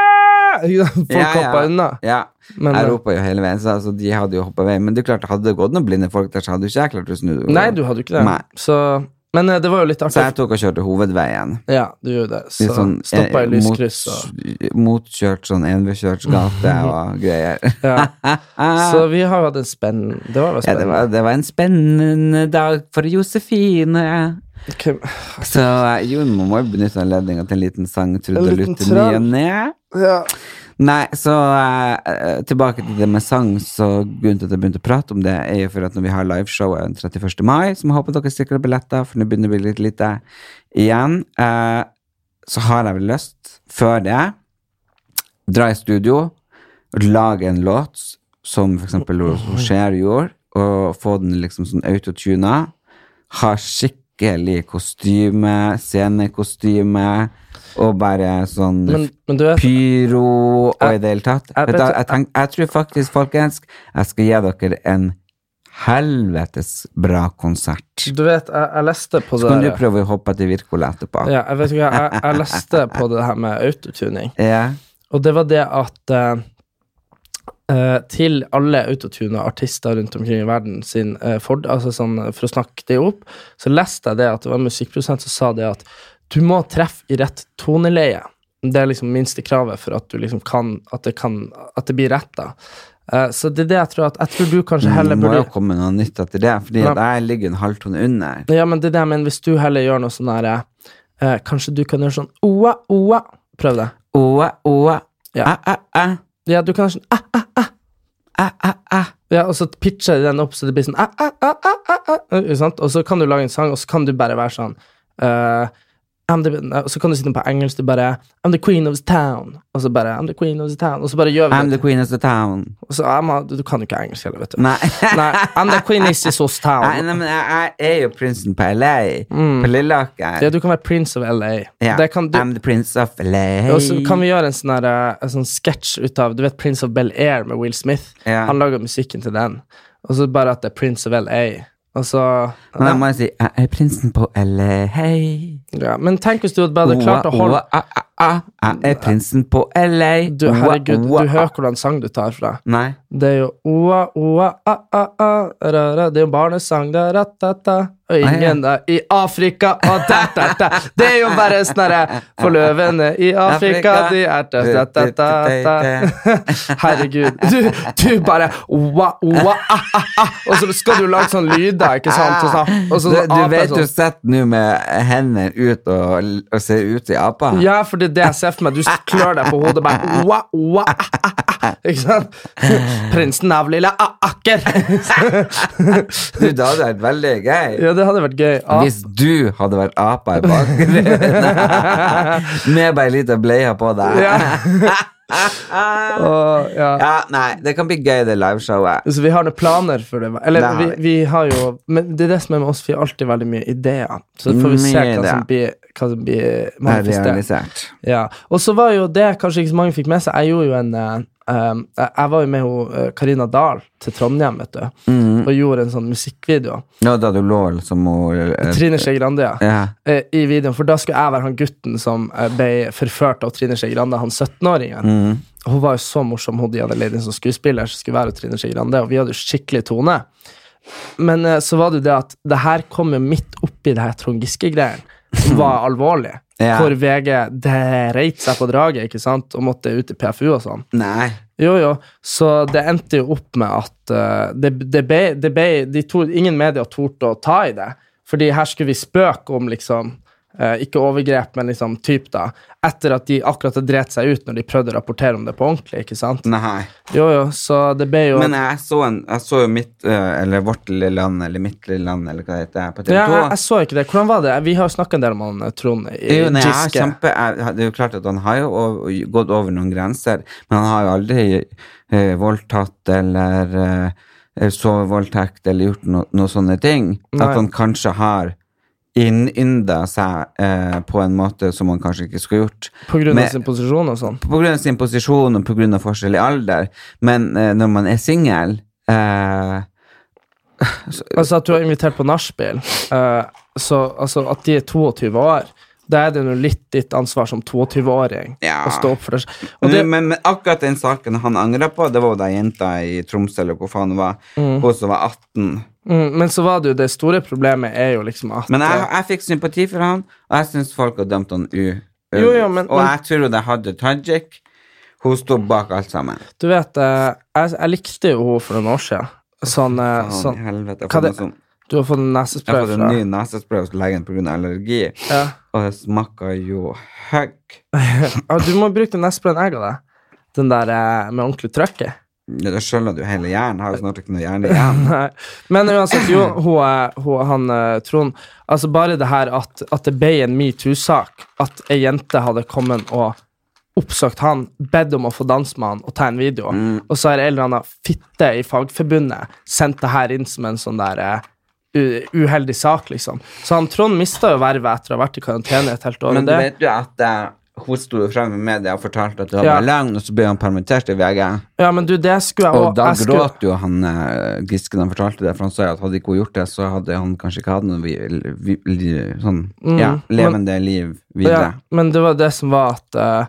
Folk Ja, ja, hoppa unna. Ja. Men, jeg eh, ropa jo hele veien, så altså, de hadde jo hoppa vei. Men det er klart, hadde det gått noen blinde folk der, så hadde jo ikke jeg klart å snu. Nei, du hadde jo ikke det. Nei. Så, men eh, det var jo litt Så artig. jeg tok og kjørte hovedveien. Ja, du gjorde det. Så Litt sånn, eh, stoppa i mot- lyskryss og Motkjørt sånn enveiskjørt gate og greier. ja. Så vi har jo hatt en spenn... Det Ja, var jo det spennende. var, det var en spennende dag for Josefine. Hvem- Så eh, jo, man må jo benytte anledninga til en liten sang, En Trude liten Lutte, ny trall. og ned. Ja. Nei, så eh, tilbake til det med sang, så grunnen til at jeg begynte å prate om det, er jo for at når vi har liveshowet den 31. mai, som jeg håper dere sikrer billetter, for nå begynner det å bli litt lite igjen, eh, så har jeg vel lyst, før det, dra i studio, lage en låt, som for eksempel Rose Rocher gjorde, og få den liksom sånn autotuna, ha skikkelig skikkelig kostyme, scenekostyme, og bare sånn Men, men du vet pyro og Jeg- i det hele tatt. jeg- Vet du, vet du- jeg, tenk, jeg tror faktisk, folkens, jeg skal gi dere en helvetes bra konsert. Du vet, jeg, jeg leste på Så det kan du der- prøve å hoppe til Wirkola etterpå. ja, jeg, vet ikke, hva, jeg, jeg leste på det her med autotuning, Ja. og det var det at eh, eh, til alle autotuna artister rundt omkring i verden sin eh, ford, altså sånn, eh, For å snakke det opp, så leste jeg det at det var en musikkprodusent som sa det at du må treffe i rett toneleie. Det er liksom minste kravet for at du liksom kan At det, kan, at det blir rett, da. Eh, så det er det jeg tror at Jeg tror du kanskje Men heller Det Mm, må burde jo komme noe nytt etter det, fordi Ja. at jeg ligger en halvtone under. Ja, men det er det jeg mener. Hvis du heller gjør noe sånn her eh, Kanskje du kan gjøre sånn oa, oa. Prøv det. Åh, åh, Ja. ah, ah, ah, Ja, du kan gjøre sånn ah, ah, ah. ah, ah, ah. Ja, og så pitcher de den opp så det blir sånn ah, ah, ah, ah, ah, ah. eh, ikke sant? Og så kan du lage en sang, og så kan du bare være sånn eh, I'm the, eh," og så kan du sitte på engelsk du bare I'm the queen of the town. Og så bare I'm the queen of the town. Og så bare gjør vi I'm the det. queen of the town. Og så, I'm a, du du kan jo ikke engelsk heller, vet du. Nei. Nei, I'm the queen is this house Nei, town. nei, men jeg, jeg er jo prinsen på LA. På Lilleaker. Ja, du kan være prince of LA. Ja. Mm. Det kan du, I'm the prince of LA. Og så kan vi gjøre en sånn her, eh, en sånn sketsj ut av Du vet Prince of Bel-Air med Will Smith? Ja. Han lager musikken til den. Og så bare at det er Prince of LA. Og så Men da ja. må jeg si Jeg er prinsen på LA. Hei. ja. Men tenk hvis du hadde bare klart å holde ah, ah, ah. Jeg er prinsen på LA. du, Oa, Herregud, oa, du hører hvordan sang du tar fra. Nei. Det er jo oa, oa, a, a, a, ra, ra. Det er jo en barnesang. Da, ra, ta, ta. Og ingen der i Afrika og ta, ta, ta. Det er jo bare sånn herre For løvene i Afrika, de er ta, ta, ta, ta, ta. Herregud. Du, du bare oa, oa, a, a, a. Og så skal du lage sånn lyder, ikke sant? Og så, og så, du, du ape vet du sånn. sitter nå med hendene ut og, og ser ut som apa. Ja, for det er det jeg ser for meg. Du klør deg på hodet bare oa, oa, a, a, a. Ikke sant? Prinsen av lille a, akker. Du, det hadde vært veldig gøy. Ja, det hadde vært gøy. Ah. A, Hvis du hadde vært apa i bakgrunnen med bare ei lita bleie på deg. Ja. Og, ja. Ja, nei, det kan bli gøy, det liveshowet. Så vi har noen planer for det. Eller Det har vi, vi. vi har jo Men det er det som er med oss, vi har alltid veldig mye ideer. Så får vi se Mye hva ideer. som blir, hva som blir Det er liksom- manifestert. realisert. Ja. Og så var jo det kanskje ikke så mange fikk med seg. Jeg gjorde jo en eh, um, Jeg jeg var jo med hun, eh, Karina Dahl til Trondheim, vet du, Mm. og gjorde en sånn musikkvideo. Nå da du lå som hun eh, Trine Skei Grande, ja. ja. eh, i videoen, for da skulle jeg være han gutten som eh, ble forført av Trine Skei Grande, han 17-åringen. Mm. Hun var jo så morsom, hun Diana Lydin som skuespiller, som skulle være Trine Skei Grande, og vi hadde jo skikkelig tone. Men eh, så var det jo det at det her kom jo midt oppi det her Trond Giske-greien, som var alvorlig. Ja. Hvor VG det reit seg på draget ikke sant? og måtte ut i PFU og sånn. Nei. Jo, jo. Så det endte jo opp med at eh, det, det ble, det ble, de to, ingen medier torde å ta i det. Fordi her skulle vi spøke om liksom eh, Ikke overgrep, men liksom typ, da. Etter at de akkurat hadde drept seg ut når de prøvde å rapportere om det på ordentlig. ikke sant? Nei. Jo, jo, så det ble jo Men jeg så, en, jeg så jo mitt, eh, eller vårt lille land, eller mitt lille land, eller hva det heter, på TV 2. ja, jeg, jeg så ikke det. Hvordan var det? Vi har jo snakka en del om han eh, Trond i jo, nei, jeg er Giske. kjempe, jeg, det er jo klart at han har jo o- gått over noen grenser, men han har jo aldri eh, voldtatt eller eh, sovevoldtekt eller gjort no, noen sånne ting. Nei. At han kanskje har innynda seg eh, på en måte som han kanskje ikke skulle gjort. På grunn av Men- sin posisjon og sånn. på grunn av sin posisjon og på grunn av forskjell i alder, men eh, når man er singel eh, Altså at du har invitert på nachspiel, eh, så altså at de er 22 år, da er det jo litt ditt ansvar som 22-åring Ja. Mm. å stå opp for deg selv. Og det, men, men akkurat den saken han angrer på, det var jo da jenta i Tromsø eller hvor faen det var, hun som var 18. mm, men så var det jo det store problemet er jo liksom at Men jeg, jeg fikk sympati for han, og jeg syns folk har dømt han u. Jo, jo, men- og men- jeg tror det hadde Tajik. Hun sto bak alt sammen. Du vet, eh, jeg, jeg likte jo henne for noen år siden. Sånn, eh, Faen i sånn helvete. Jeg Hva har det- fått noe sånn- Du har fått en jeg har nesespray fått en fra ny nesespray hos legen pga. allergi, ja. og det smaker jo høgg. Ja, Du må bruke den nesesprayen jeg ga deg. Den der eh, med ordentlig trøkk i. Da skjønner du hele hjernen. Har jo snart ikke noe hjerne igjen. Nei. Men uansett, jo, hun, er- hun, han eh, Trond Altså Bare det her at, at det ble en metoo-sak, at ei jente hadde kommet og oppsøkt han, bedt om å få danse med han og ta en video, Mm. og så har en eller annen fitte i Fagforbundet sendt det her inn som en sånn der eh, u- uheldig sak, liksom. Så han Trond mista jo vervet etter å ha vært i karantene et helt år. Men det, vet du at eh, hun sto jo frem i media og fortalte at det Ja. var løgn, og så ble han permittert i VG. ja, men du, det skulle jeg Og også- da jeg skulle- gråt jo han eh, Giske da han fortalte det, for han sa jo at hadde ikke hun gjort det, så hadde han kanskje ikke hatt noe vi, vi, li, sånn Mm, ja, men- levende liv videre. Ja, men det var det som var at eh,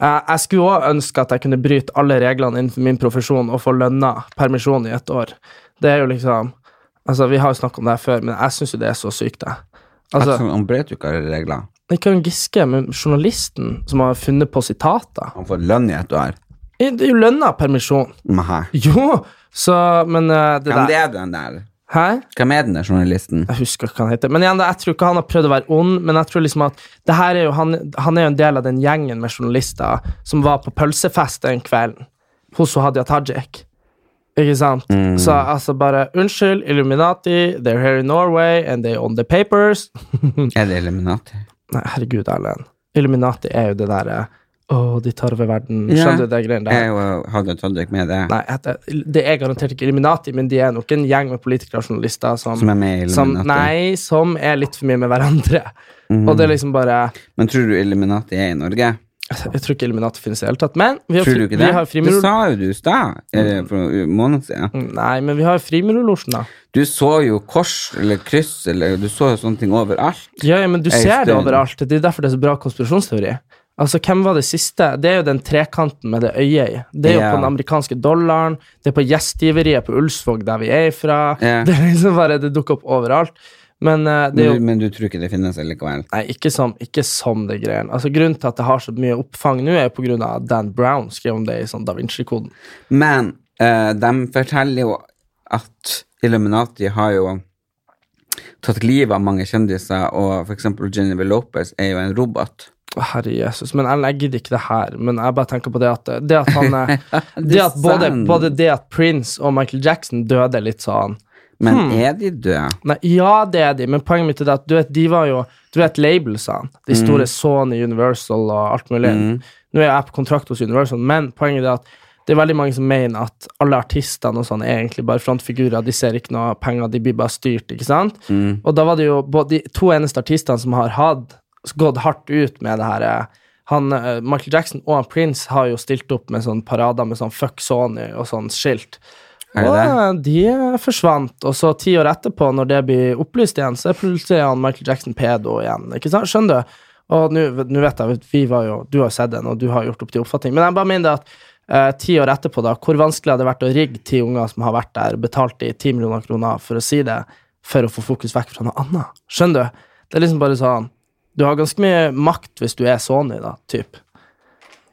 jeg, jeg skulle òg ønske at jeg kunne bryte alle reglene innenfor min profesjon og få lønna permisjon i et år. Det er jo liksom Altså, vi har jo snakket om det her før, men jeg syns jo det er så sykt, det. Altså, At han- han brøt jo ikke alle regler. ikke han Giske, men journalisten som har funnet på sitater Han får lønn i et år. Det er jo lønna permisjon. Nei. Jo! Så, men eh, det Hvem der det er den der? Hæ? Hvem er den der journalisten? Jeg husker ikke hva han heter. Men igjen, da, jeg tror ikke han har prøvd å være ond, men jeg tror liksom at det her er jo, han, han er jo en del av den gjengen med journalister som var på pølsefest den kvelden hos hun Hadia Tajik. Ikke sant? Mm. Så altså bare Unnskyld, Illuminati, they're here in Norway, and they own the papers. Mm. Er det Illuminati? Nei, herregud, Erlend. Illuminati er jo det derre Å, de tar over verden. Ja. Skjønner du det greiene der? Jeg og Hadia Tajik med det, Nei, at det- det er garantert ikke Illuminati, men de er nok en gjeng med politikere og journalister som, som er med i som, Illuminati. Mhm. nei, som er litt for mye med hverandre. Og det er liksom bare Men tror du Illuminati er i Norge? Jeg tror ikke Illuminati finnes i det hele tatt. Men vi har, Tror du fri, ikke Altså, vi det? har Det frimurul... sa jo du i stad, eller for noen måneder siden. Nei, men vi har frimurulosjen, da. Du så jo kors eller kryss eller Du så jo sånne ting overalt. Ja, ja, men du Ei ser det stund. overalt. Det er derfor det er så bra konspirasjonsteori. Altså, Hvem var det siste? Det er jo den trekanten med det øyet i. Det er jo Ja. på den amerikanske dollaren, det er på gjestgiveriet på Ulsvåg, der vi er ifra. Ja. Det er liksom bare, det dukker opp overalt. Men eh, det er jo Men, du- men du tror ikke det finnes likevel? Nei, ikke som, ikke som det greien. Altså, grunnen til at det har så mye oppfang nå, er jo på grunn av at Dan Brown skrev om det i sånn Da Vinci-koden. Men eh, de forteller jo at Illuminati har jo tatt livet av mange kjendiser, og for eksempel Jennifer Lopez er jo en robot. Å, Herre Jesus. Men Ellen, jeg gidder ikke det her. Men jeg bare tenker på det at det at han er det at både, sant. både det at Prince og Michael Jackson døde litt sånn Men er de døde? Nei, ja, det er de, men poenget mitt er det at du vet, de var jo Du vet labelsene, de store Sony, Universal og alt mulig. Nå er jeg på kontrakt hos Universal, men poenget er at det er veldig mange som mener at alle artistene og sånn er egentlig bare frontfigurer. De ser ikke noe penger, de blir bare styrt, ikke sant? Og da var det jo både de to eneste artistene som har hatt gått hardt ut med det her eh, han, eh, Michael Jackson og han Prince har jo stilt opp med sånn parader med sånn fuck Sony og sånn skilt. Er det Og de forsvant, og så ti år etterpå, når det blir opplyst igjen, så er plutselig han Michael Jackson pedo igjen. Ikke sant? Skjønner du? Og nå nå vet jeg at vi var jo, Du har jo sett den, og du har gjort opp til oppfatning, men jeg bare mener det at eh, ti år etterpå, da, hvor vanskelig hadde det vært å rigge ti unger som har vært der, betalt de ti millioner kroner for å si det, for å få fokus vekk fra noe annet? Skjønner du? Det er liksom bare sånn Du har ganske mye makt hvis du er Sony, da, typ,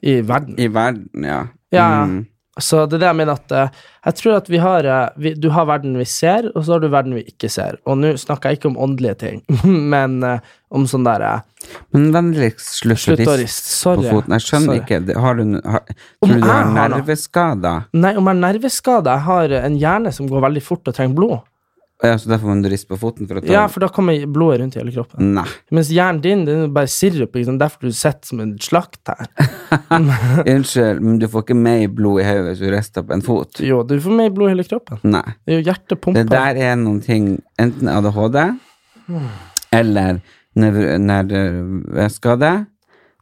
i verden. I verden, ja. Ja, Mm. Så det er det jeg mener at eh, Jeg tror at vi har eh, vi, Du har verden vi ser, og så har du verden vi ikke ser. Og nå snakker jeg ikke om åndelige ting, men eh, om sånn der eh, Men vennligst slutt å Slutt å riste riste. Sorry. på foten. Jeg skjønner Sorry. ikke. Det- Har du, n- har, Om tror du du jeg har har noe? nerveskader? Nei, om jeg er nerveskada, jeg har eh, en hjerne som går veldig fort og trenger blod. Ja, så derfor må du riste på foten for å ta Ja, for da kommer blodet rundt i hele kroppen. Nei. Mens hjernen din den er bare sirup. Ikke sant? Derfor du sitter som en slakt her. Unnskyld, men du får ikke mer blod i hodet hvis du rister på en fot. Jo, du får mer blod i hele kroppen. Nei. Det er jo hjertet Det pumper. der er noen ting Enten ADHD eller nerv- nerveskade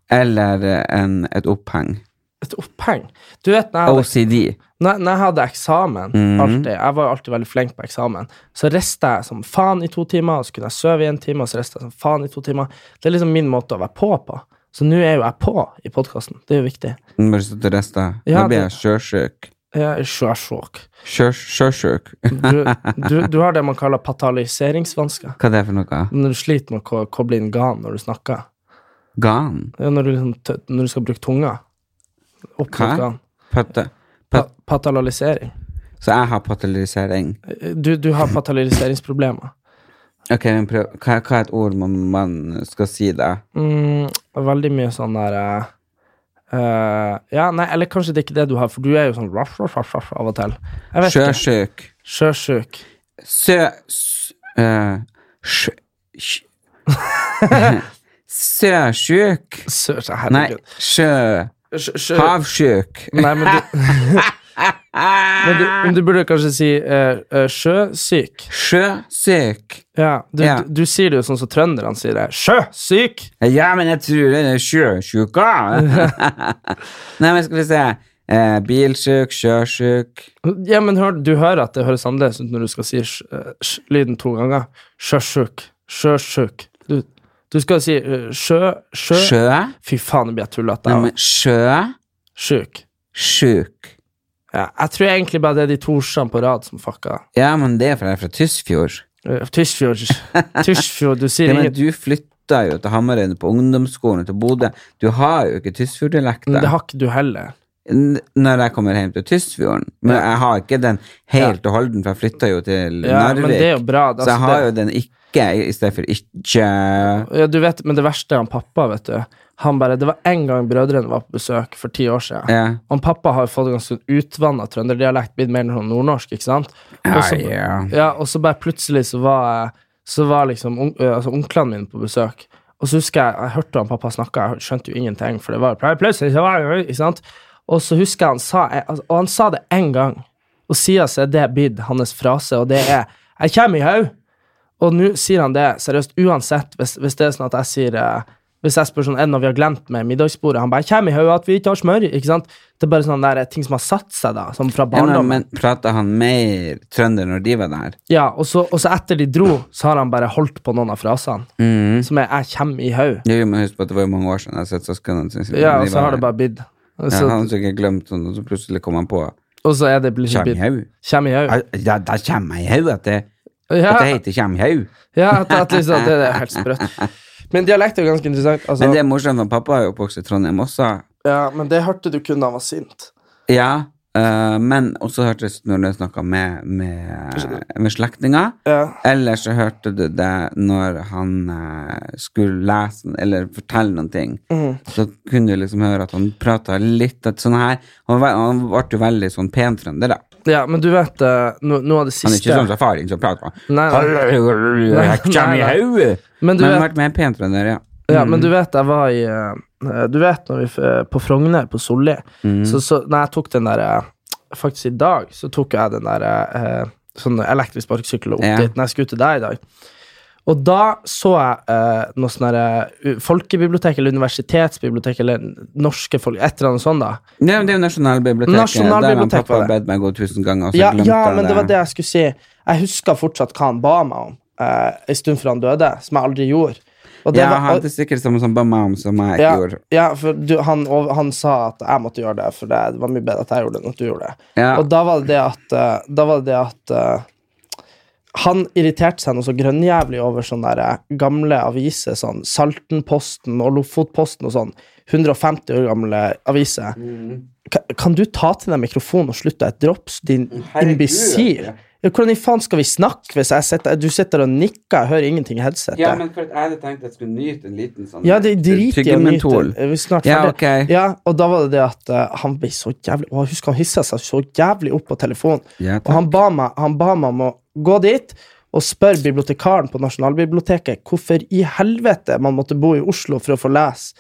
eller en, et oppheng. Et oppheng. Du vet, når jeg hadde OCD. Når, når jeg hadde eksamen, Mhm. alltid, jeg var jo alltid veldig flink på eksamen, så rista jeg som faen i to timer, og så kunne jeg sove i en time, og så rista jeg som faen i to timer. Det er liksom min måte å være på på. Så nå er jo jeg på i podkasten. Det er jo viktig. Nå Bare slutt å riste. Ja, Nå blir det- jeg sjøsjuk. Jeg er sjøsjuk. Sjø- Sjøsjuk? Du, du, du har det man kaller patalyseringsvansker. Hva er det for noe? Når du sliter med å ko- koble inn gan når du snakker. Gan? Ja, Når du, liksom, tø- når du skal bruke tunga. Opp mot Hæ? gan. Patte. Pa, Pat- patalysering. Så jeg har patalysering. Du, du har patalyseringsproblemer. Ok, men prøv. Hva, hva er et ord man, man skal si da? Mm, veldig mye sånn der eh, eh, Ja, nei, eller kanskje det er ikke det du har, for du er jo sånn ruff, ruff, ruff, ruff, av og til. Jeg vet ikke. Sjøsjuk. Sjøsjuk. Sø... s- eh, sjø... sj- Søsjuk? Sø- Nei, Herregud. sjø... Sj- sjø- Havsjuk. Nei, men du Men du, men du burde kanskje si eh, eh, sjøsyk. Sjøsyk. Ja, du, Ja. Du, du sier det jo sånn som trønderne sier det. Sjøsyk! Ja, men jeg tror det er sjøsjuka. Nei, men skal vi se. Eh, bilsjuk, sjøsjuk Ja, men hør, du hører at det høres annerledes ut når du skal si sj, eh, sj, lyden to ganger. Sjøsjuk. Sjøsjuk. Du, du skal si eh, sjø, sjø Sjø? Fy faen, nå blir jeg tullete. Nei, av. men sjø, Sjuk. sjuk. Ja, jeg tror egentlig bare det er de to ordene på rad som fucka. Ja, men det er for jeg er fra Tysfjord. Eh, Tysfjord. Tysfjord, du sier Ja, men du ingenting. flytta jo til Hamarøy på ungdomsskolen til Bodø. Du har jo ikke Tysfjord-dialekta. Det har ikke du heller. N- Når jeg kommer hjem til Tysfjorden. Men jeg har ikke den helt og holden, for jeg flytta jo til Ja, men det er jo Narvik. bra. Så jeg har jo den ikke i stedet for ikke. Ja, du vet, men det verste er han pappa, vet du. Han bare, Det var en gang brødrene var på besøk for ti år siden. Ja. Han Eh, pappa har jo fått ganske utvanna trønderdialekt, blitt mer sånn nordnorsk, ikke sant? Og så, Ja, ja. ja, og så bare plutselig så var, så var liksom on- ø, altså, onklene mine på besøk. Og så husker jeg, jeg hørte han pappa snakke, jeg skjønte jo ingenting, for det var jo plutselig så var det, jo- ikke sant? Og så husker jeg han sa, altså, og han sa det én gang, og siden så er det blitt hans frase, og det er 'Jeg kommer i haug'. Og nå sier han det seriøst uansett, hvis, hvis det er sånn at jeg sier eh, Hvis jeg spør sånn, er det noe vi har glemt med middagsbordet? Han bare 'Kjem i hodet at vi ikke har smør', ikke sant? Det er bare sånne der, eh, ting som har satt seg, da, som fra Ja, men, barndommen. men prata han mer trønder når de var der? Ja, og så, og så etter de dro, så har han bare holdt på noen av frasene, Mm. som er 'jeg kjem i haug'. Jo, jo, men husk på at det var jo mange år siden jeg har sett søsknene sine. siden Ja, de og så var har det der. bare bidd. ja, Han Så, hadde sikkert glemt sånn, og så plutselig kom han på og så er det blitt bidd. Kjemhaug. Kjem i haug. Da, da kommer jeg i haug at det, at det Ja, heter Kjemhaug. ja at, at liksom, det, det er helt sprøtt. Men dialekt er jo ganske interessant. Altså, Men det er morsomt, for pappa er jo oppvokst i Trondheim også. ja, men det hørte du kun da han var sint. Ja, øh, men også hørtes det når du snakka med, med, med slektninger. Ja. Eller så hørte du det når han eh, skulle lese eller fortelle noen ting. Mm. Så kunne du liksom høre at han prata litt at sånn her. Han, var, han ble jo veldig sånn pen trønder, da. Ja, men du vet eh, no, noe av det Han er siste ikke sånn safarien som prater Nei, nei. Nei, nei. Men Men du han vet- ble mer pen trønder, ja. Ja, men du vet, jeg var i eh, Du vet når vi f- eh, på Frogner, på Solli, Mm. så, så når jeg tok den der eh, Faktisk i dag så tok jeg den der eh, sånn elektrisk sparkesykkel opp Ja. dit når jeg skulle til deg i dag. Og da så jeg eh, noe sånn der, eh, u- folkebibliotek eller universitetsbibliotek eller norske folk, et eller annet sånt, da. Det, det er jo Nasjonalbiblioteket. Nasjonalbiblioteket der har var pappa det. bedt meg gå tusen ganger, og så Ja, glemte ja, jeg men det var det jeg skulle si. Jeg husker fortsatt hva han ba meg om eh, en stund før han døde, som jeg aldri gjorde. Og det ja, var- han hadde sikkert samme som mamma som jeg ja, gjorde. Ja, for du, han, og han sa at jeg måtte gjøre det, for det, det var mye bedre at jeg gjorde det enn at du gjorde det. Ja. Og da var det det at, eh, da var det det at eh, han irriterte seg noe så grønnjævlig over sånne der eh, gamle aviser, sånn Saltenposten og Lofotposten og sånn. 150 år gamle aviser. Ka- Kan du ta til deg mikrofonen og slutte deg et drops, din imbisil? Ja, Hvordan i faen skal vi snakke hvis jeg sitter, du sitter og nikker? Jeg hører ingenting i headsetet. for jeg hadde tenkt jeg skulle nyte en liten sånn Ja, det driter jeg i. Tyggementol. Er vi snart Ja, ferdig? ok. Ja, og da var det det at eh, han ble så jævlig Og husk, han hissa seg så jævlig opp på telefonen. Ja, og han ba, meg, han ba meg om å gå dit og spørre bibliotekaren på Nasjonalbiblioteket hvorfor i helvete man måtte bo i Oslo for å få lese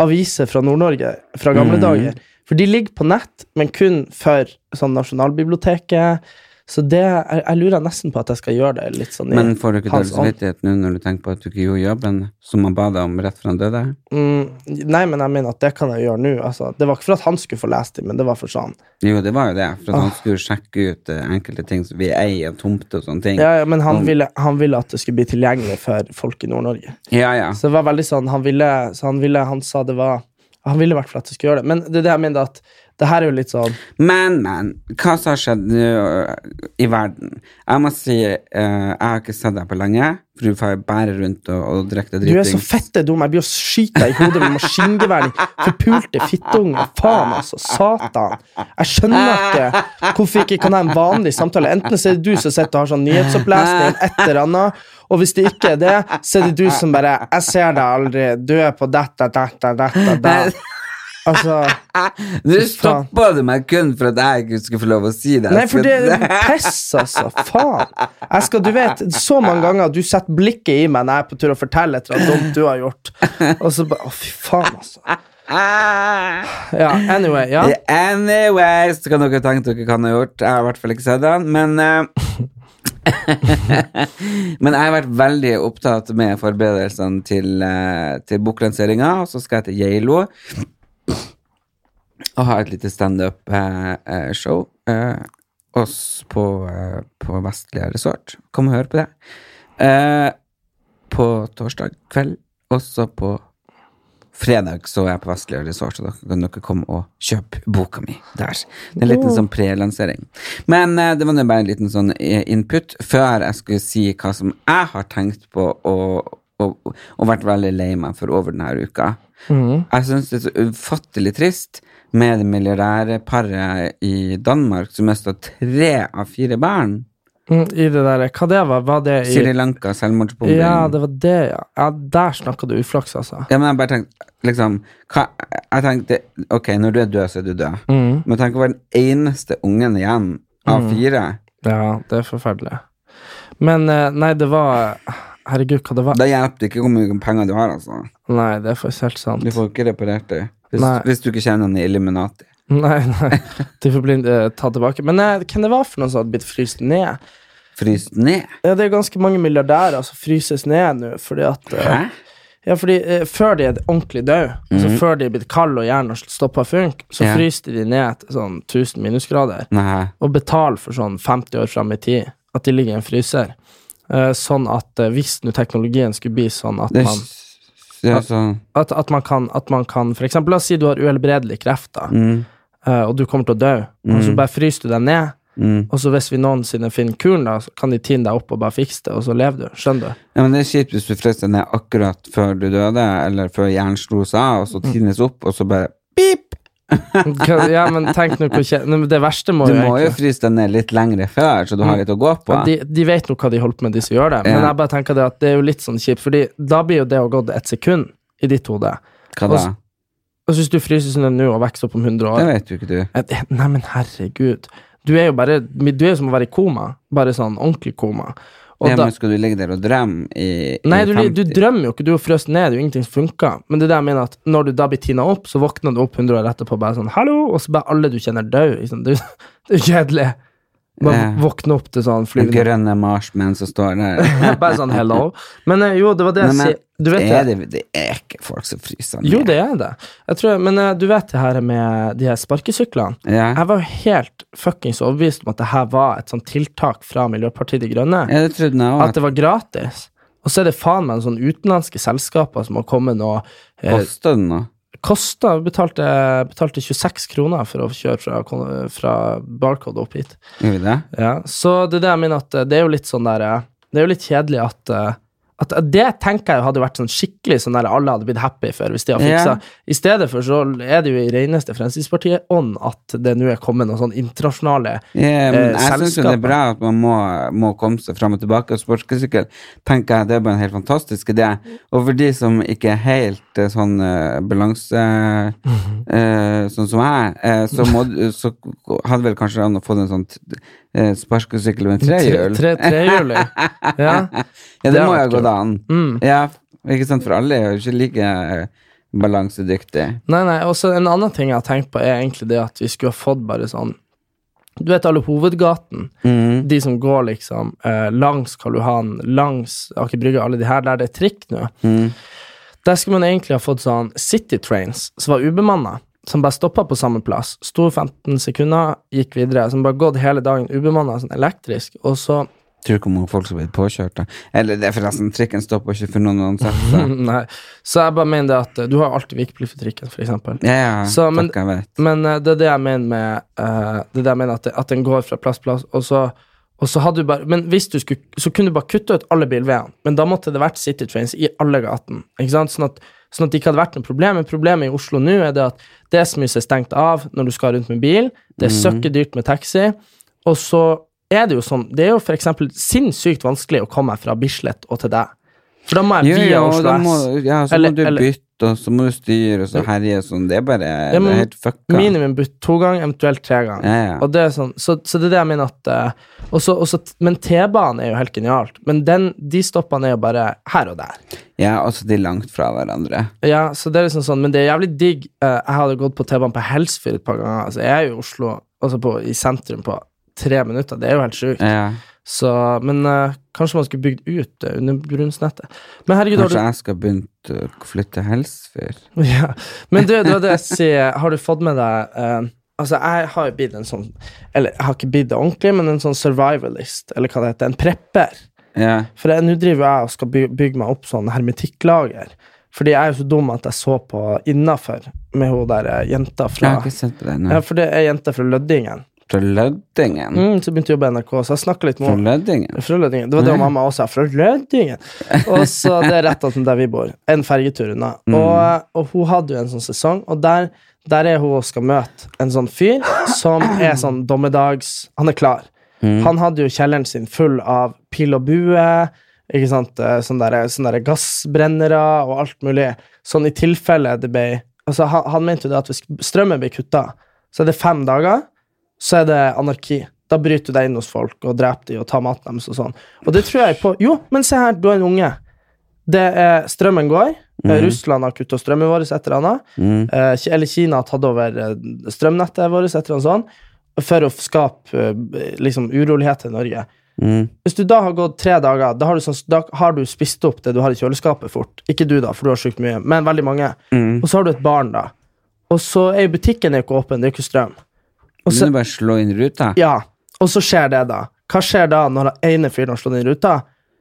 aviser fra Nord-Norge fra gamle Mm. dager. For de ligger på nett, men kun for sånn Nasjonalbiblioteket. Så det, jeg, jeg lurer nesten på at jeg skal gjøre det litt sånn i Men får du ikke dårlig hans ånd. samvittighet nå når du tenker på at du ikke gjorde jobben som han ba deg om rett før han døde? Mm, nei, men jeg mener at det kan jeg gjøre nå. Altså, det var ikke for at han skulle få lest dem, men det var for sånn. Jo, det var jo det, for at han Ah. skulle sjekke ut eh, enkelte ting som vi eier av tomter og sånne ting. Ja, ja, men han ville, han ville at det skulle bli tilgjengelig for folk i Nord-Norge. ja. ja. Så det var veldig sånn, han ville, så han ville, han sa det var Han ville i hvert fall at det skulle gjøre det. Men det er det jeg mener at det her er jo litt sånn Men, men, hva som har skjedd nå øh, i verden? Jeg må si, øh, jeg har ikke sett deg på lenge, for du får jo bære rundt og, og drikke deg Du er driting. så fette dum, jeg blir å skyte deg i hodet med maskingevær. din Forpulte fittunge. Faen, altså. Satan. Jeg skjønner ikke hvorfor ikke kan jeg ha en vanlig samtale. Enten så er det du som sitter og har sånn nyhetsopplesning, et eller annet, og hvis det ikke er det, så er det du som bare 'Jeg ser deg aldri. Du er på dette, dette, dette, dette.' Altså Nå Fy faen. stoppa du meg kun for at jeg ikke skulle få lov å si det. Nei, for det Skal- er piss, altså. Faen. Jeg skal, du vet, så mange ganger du setter blikket i meg når jeg er på tur og forteller et eller annet dumt du har gjort, og så bare Å, fy faen, altså. Ah! Ja, anyway, ja. Eh, Anyways, så kan dere tenke dere hva han har gjort. Jeg har i hvert fall ikke sett den, men eh, Men jeg har vært veldig opptatt med forberedelsene til, uh, til boklanseringa, og så skal jeg til Geilo og ha et lite eh, standup-show eh, oss på, eh, på Vestlia Resort. Kom og hør på det. Eh, på torsdag kveld, også på fredag så er jeg på Vestlia Resort, så da kan dere komme og kjøpe boka mi der. Det er en liten sånn prelansering. Men eh, det var nå bare en liten sånn eh, input før jeg skulle si hva som jeg har tenkt på og, og, og vært veldig lei meg for over denne uka. Mhm. Jeg syns det er så ufattelig trist med det milliardærparet i Danmark som mista tre av fire barn. Mm, I det der Hva det var? Var det i Sri Lanka, selvmordsbombing. Ja, det var det, ja. ja der snakka du uflaks, altså. Ja, men jeg bare tenkte liksom, hva, Jeg tenkte, ok, når du er død, så er du død. Mm. Men tenk å være den eneste ungen igjen av fire. Ja, det er forferdelig. Men eh, nei, det var Herregud, hva det var? Da hjelper det ikke hvor mye penger du har, altså. Nei, det er faktisk helt sant. Du får ikke reparert det. Hvis, Nei. hvis du ikke kjenner han i Illuminati. Nei, nei. De får bli, eh, ta tilbake. Men eh, hvem det var for noen som hadde blitt fryst ned? Fryst ned. Ja, det er ganske mange milliardærer som fryses ned nå fordi at eh, Hæ? Ja, fordi eh, før de er ordentlig døde, altså før de er blitt kalde og hjernen har stoppa å funke, så Ja. fryser de ned til sånn 1000 minusgrader. Nei. og betale for sånn 50 år fram i tid, at de ligger i en fryser. Eh, sånn at eh, hvis nå teknologien skulle bli sånn at Det er, man, s- det er sånn at, at man kan, at man kan for eksempel, La oss si du har uhelbredelig kreft, da, mm, eh, og du kommer til å dø, og så bare fryser du deg ned. mm. Og så hvis vi noensinne finner kuren, da, så kan de tine deg opp og bare fikse det, og så lever du. Skjønner du? Ja, men Det er kjipt hvis du frøs deg ned akkurat før du døde, eller før hjernen slo seg av, og så Mm. tines opp, og så bare pip! Hva- Ja, men tenk nå hvor kje- Nei, men Det verste må Du jo må jo egentlig fryse deg ned litt lengre før, så du har litt å gå på. Ja, de, de vet nå hva de holder på med, de som gjør det. Men Ja. jeg bare tenker det at det er jo litt sånn kjipt, Fordi da blir jo det å gått ett sekund i ditt hode. Hva da? Altså, Og så hvis du fryser sånn nå og vokser opp om Det 100 år vet jo ikke du. Eh, det- Nei, men herregud. Du er jo bare Du er jo som å være i koma. Bare sånn ordentlig koma. Og ja, da, men skal du ligge der og drømme i, nei, i du, 50? du drømmer jo ikke. Du er jo frøst ned. Det er jo ingenting som funker. Men det er det jeg mener at når du da blir tina opp, så våkner du opp 100 år etterpå bare sånn Hallo! Og så bare alle du kjenner, dør. Liksom. Det, det er jo kjedelig. Bare Ja. våkne opp til Den sånn flyvende grønne marsmenn som står der. Bare sånn hello. Men eh, jo, det var det Nei, jeg men, sier. Du vet er det. det, det er ikke folk som fryser ned. Jo, det er det. Jeg tror, men eh, du vet det her med de her sparkesyklene. Ja. Jeg var jo helt fuckings overbevist om at det her var et sånt tiltak fra Miljøpartiet De Grønne. ja, det trodde jeg At òg. det var gratis. Og så er det faen meg sånne utenlandske selskaper som har kommet og eh, Kosta det noe? kosta betalte, betalte 26 kroner for å kjøre fra, kon- fra Barcode opp hit. Gjorde det? Ja. Så det er det jeg mener at eh, det er jo litt sånn der eh, Det er jo litt kjedelig at eh, at at det tenker jeg hadde vært sånn skikkelig sånn der alle hadde blitt happy for hvis de har fiksa. Ja. I stedet for så er det jo i reneste Fremskrittspartiet-ånd at det nå er kommet noen sånn internasjonale Ja, men jeg Eh, syns jo det selskapet. er bra at man må, må komme seg fram og tilbake. Og sparkesykkel tenker jeg det er bare en helt fantastisk idé. Og for de som ikke er helt eh, sånn eh, balanse Mhm. eh, Sånn som jeg, eh, så, må, du- så hadde vel kanskje an å få en sånn eh, sparkesykkel med trehjul. Tre- Trehjulig. ja. Ja, Det Mm. det må har jo vært gå kult. an. Ja, ikke sant, for alle er jo ikke like eh, balansedyktige. Nei, nei, og så en annen ting jeg har tenkt på, er egentlig det at vi skulle ha fått bare sånn Du vet alle hovedgaten? De som går liksom eh, langs Karl Johan, langs Aker Brygge, alle de her, der det er trikk nå. Der skulle man egentlig ha fått sånn City Trains, som var ubemanna. Som bare stoppa på samme plass. Sto 15 sekunder, gikk videre. Som bare gått hele dagen ubemanna, sånn elektrisk. Og så Tror ikke hvor mange folk som blir påkjørt. da. Eller det er forresten, trikken stopper ikke for noen ansatte. Nei. Så jeg bare mener det at eh, du har jo alltid vikeplikt for trikken, for eksempel. Ja, ja, Så, men- takk, jeg vet. Men eh, det er det jeg mener med eh, Det er det jeg mener at, det, at den går fra plass til plass, og så, og så hadde du bare Men hvis du skulle Så kunne du bare kutte ut alle bilveiene, men da måtte det vært City Trains i alle gatene. Ikke sant? Sånn at, sånn at det ikke hadde vært noe problem. Men problemet i Oslo nå er det at det er så mye som er stengt av når du skal rundt med bil, det er Mhm. søkkedyrt med taxi, og så er det jo sånn Det er jo for eksempel sinnssykt vanskelig å komme meg fra Bislett og til deg. For da må Jo, jeg via jo, Oslo da S. må, ja, så Eller- må du eller- bytte, og så må du styre, og så herje og sånn. Det er bare Ja, men Det er helt fucka. Minimum bytt to ganger, eventuelt tre ganger. Ja, ja. Og det er sånn, så, så det er det jeg mener at eh, også, også, Men T-banen er jo helt genialt. Men den, de stoppene er jo bare her og der. ja, altså, de er langt fra hverandre. Ja, så det er liksom sånn, Men det er jævlig digg. eh, jeg hadde gått på T-banen på Helsfyr et par ganger. Altså, jeg er jo i Oslo, altså på, i sentrum, på tre minutter. Det er jo helt sjukt. Ja. Så, men eh, kanskje man skulle bygd ut det undergrunnsnettet. Men herregud, har du Kanskje jeg skal begynne å flytte Helsfyr? Ja. Men du, det var det jeg sier. Har du fått med deg eh, Altså, jeg har jo blitt en sånn Eller jeg har ikke blitt det ordentlig, men en sånn survivalist, eller hva det heter. En prepper. Ja. For jeg- nå driver jeg og skal by- bygge meg opp sånn hermetikklager. Fordi jeg er jo så dum at jeg så på Innafor med hun der eh, jenta Jeg fra har ikke sett på det Ja, ennå. for det er jenta fra Lødingen. Fra Lødingen? Mm, så begynte jeg å jobbe i NRK, så jeg snakker litt med Fra henne. Lødingen? Fra Lødingen. Det var det mamma også sa. Fra Lødingen! Og så det er rett attmed der vi bor. En fergetur unna. Og, og hun hadde jo en sånn sesong, og der, der er hun og skal møte en sånn fyr som er sånn dommedags Han er klar. Han hadde jo kjelleren sin full av pil og bue, ikke sant? eh, Sånne, der, sånne der gassbrennere og alt mulig. Sånn i tilfelle det ble Altså, han, han mente jo det at hvis strømmen blir kutta, så er det fem dager så er det anarki. Da bryter du deg inn hos folk og dreper dem og tar maten deres og sånn. Og det tror jeg på Jo, men se her, du har en unge. Det er, strømmen går. Eh, Russland har kutta strømmen vår, et eller annet. Mm. Eh, Ki- eller Kina har tatt over eh, strømnettet vårt, et eller annet sånn. For å f- skape eh, b- liksom uroligheter i Norge. Mm. Hvis du da har gått tre dager, da har du, sånn, da har du spist opp det du har i kjøleskapet fort. Ikke du, da, for du har sjukt mye, men veldig mange. Mm. Og så har du et barn, da. Og så er jo butikken er jo ikke åpen, det er jo ikke strøm. Og så- Begynner bare å slå inn ruta? ja, og så skjer det, da. Hva skjer da når den ene fyren har slått inn ruta?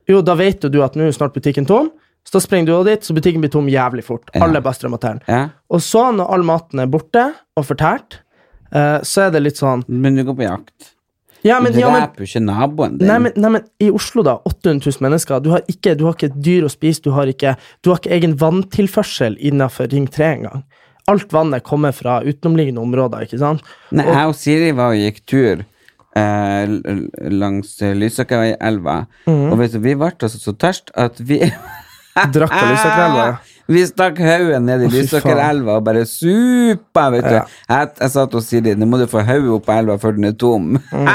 Jo, da vet jo du at nå er snart butikken tom, så da springer du også dit, så butikken blir tom jævlig fort. Ja. Alle bare strømmer til. Ja. Og så, når all maten er borte og fortært, eh, så er det litt sånn Men du går på jakt. Ja, Du men, ja, men dreper jo ikke naboen din. Nei men, nei, men i Oslo, da. 800 000 mennesker. Du har ikke, du har ikke et dyr å spise. Du har ikke, du har ikke egen vanntilførsel innenfor Ring 3 engang. Alt vannet kommer fra utenomliggende områder, ikke sant? Nei, jeg og Siri var og gikk tur eh, l- l- langs eh, Lysakerelva, Mhm. og vet du, vi ble altså så tørst at vi Drakk av lysakrella. Vi stakk haugen ned i fy Lysakerelva og bare supa, vet du. Ja. Jeg, jeg sa til Siri nå må du få hodet opp av elva før den er tom. Mm.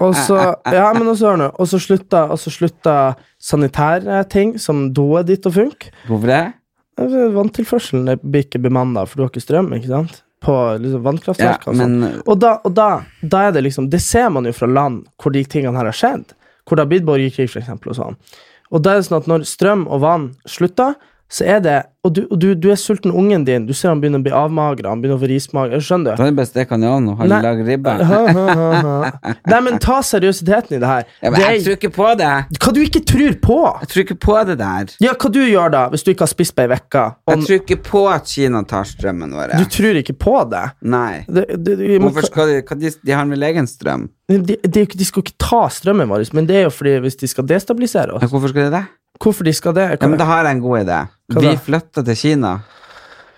Og så, ja, men også, hør nå, og så slutta, og så slutta sanitære ting, som doet ditt, å funke. Hvorfor det? Vanntilførselen er- blir ikke bemanna, for du har ikke strøm ikke sant? på liksom, Ja, vannkraftverkene. og sånn. men Og, da, og da, da er det liksom Det ser man jo fra land hvor de tingene her har skjedd. Hvor det har blitt borgerkrig, for eksempel. Og, sånn. og da er det sånn at når strøm og vann slutter, så er det Og du, og du, du er sulten ungen din. Du ser han begynner å bli avmagra, han begynner å få rismage. Skjønner du? da er det bare å steke han i ovnen og ha- Nei. lage ribbe. Nei, men ta seriøsiteten i det her. Ja, men det jeg er, tror ikke på det. hva du ikke tror på! Jeg tror ikke på det der. Ja, hva du gjør da, hvis du ikke har spist på ei uke? Jeg tror ikke på at Kina tar strømmen vår. Du tror ikke på det? Nei. Det, det, det, men Hvorfor skal de, hva de, de har vel egen strøm? hva- de, de, de skal jo ikke ta strømmen vår, men det er jo fordi hvis de skal destabilisere Ja, oss. Hvorfor skal de det? Hvorfor de skal det? Ja, men da har jeg en god idé. Hva Vi da? flytter til Kina.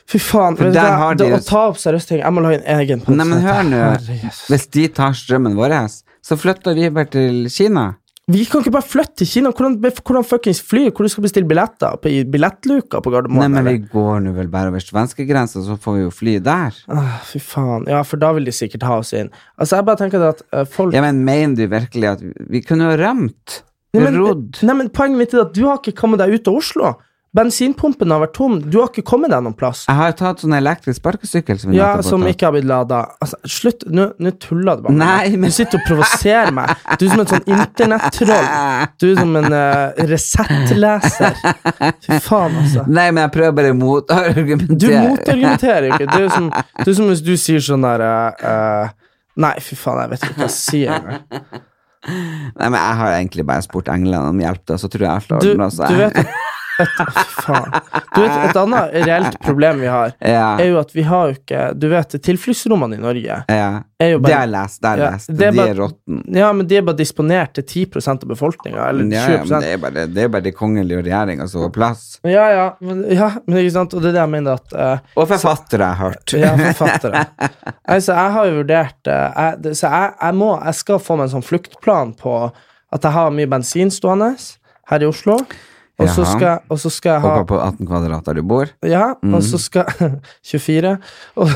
Fy faen, For vet du der hva? har de det, jo- å ta opp seriøse ting Jeg må la en egen Nei, men hør nå. Herre Jesus. Hvis de tar strømmen vår, så flytter vi bare til Kina. Vi kan ikke bare flytte til Kina. Hvordan, hvordan fuckings fly? Hvor du skal bestille billetter? På, I billettluka på Nei, Gardermoen? men vi eller? går nå vel bare over svenskegrensa, så får vi jo fly der. Ah, fy faen. Ja, for da vil de sikkert ha oss inn. Altså, jeg bare tenker det at eh, folk Ja, men mener du virkelig at vi- vi kunne ha rømt? Nei, men- Rodd? Nei, men Poenget mitt er at du har ikke kommet deg ut av Oslo. Bensinpumpen har vært tom. Du har ikke kommet deg noen plass. Jeg har tatt sånn elektrisk sparkesykkel som vi Ja, nettopp har Som tatt. ikke har blitt lada. Altså, slutt. Nå nå tuller du bare. med Nei, meg. men- Du sitter og provoserer meg. Du er som en sånn internettroll. Du er som en uh, Resett-leser. Fy faen, altså. Nei, men jeg prøver bare å motargumentere. Du motargumenterer jo ikke. Det er jo som, det er som hvis du sier sånn der eh, eh, Nei, fy faen, jeg vet ikke hva jeg sier engang. Nei, men jeg har egentlig bare spurt englene om hjelp, da, så tror jeg jeg slår Du, den altså. også. du vet et, et, faen. Du vet, et annet reelt problem vi har, Ja, er jo at vi har jo ikke Du vet, tilfluktsrommene i Norge ja. er jo Det har jeg bare lest, det har Ja, jeg lest. det er De bare- er råtne. Ja, men de er bare disponert til 10 av befolkninga, eller Ja, ja, 20 men det er bare, det er bare de kongelige og regjeringa som har plass. Ja, ja, men, ja, men ikke sant? Og det er det jeg mener at eh, Og forfattere, jeg har hørt. Ja, forfattere. Altså, jeg har jo vurdert eh, jeg, det- Så jeg, jeg må Jeg skal få meg en sånn fluktplan på at jeg har mye bensin stående her i Oslo. Og Og så Jaha. skal, og så skal jeg ha Håper på 18 kvadrat der du bor. Ja, og så skal 24. Og,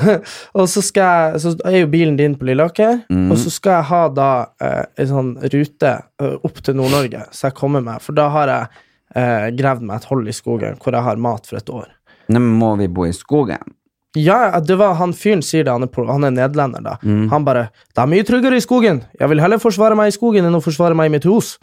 og så, skal jeg, så er jo bilen din på Lilleaker, og så skal jeg ha da eh, en sånn rute eh, opp til Nord-Norge, så jeg kommer meg. For da har jeg eh, gravd meg et hull i skogen hvor jeg har mat for et år. Nei, men må vi bo i skogen? Ja, det var han fyren sier det, han er, pol- han er nederlender, da. Han bare 'Det er mye tryggere i skogen. Jeg vil heller forsvare meg i skogen enn å forsvare meg i mitt hus.'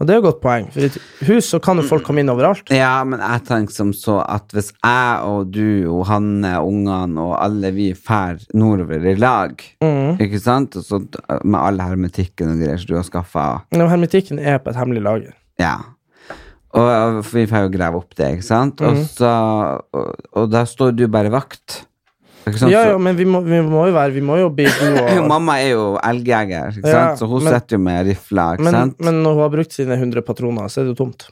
Og det er jo et godt poeng, for i et hus så kan jo folk komme inn overalt. Ja, men jeg tenker som så at hvis jeg og du og Hanne og ungene og alle vi fær nordover i lag, Mm. ikke sant, og så med all hermetikken og greier som du har skaffa Men Hermetikken er på et hemmelig lager. Ja. Og og vi får jo grave opp det, ikke sant? Mm. Og, så, og, og da står du bare vakt. Ikke sant? Ja, Så- ja, men vi må, vi må jo være Vi må jo bli gode. Jo, og- mamma er jo elgjeger, ikke Ja, sant? så hun men- sitter jo med rifla. ikke Men, sant? men når hun har brukt sine 100 patroner, så er det jo tomt.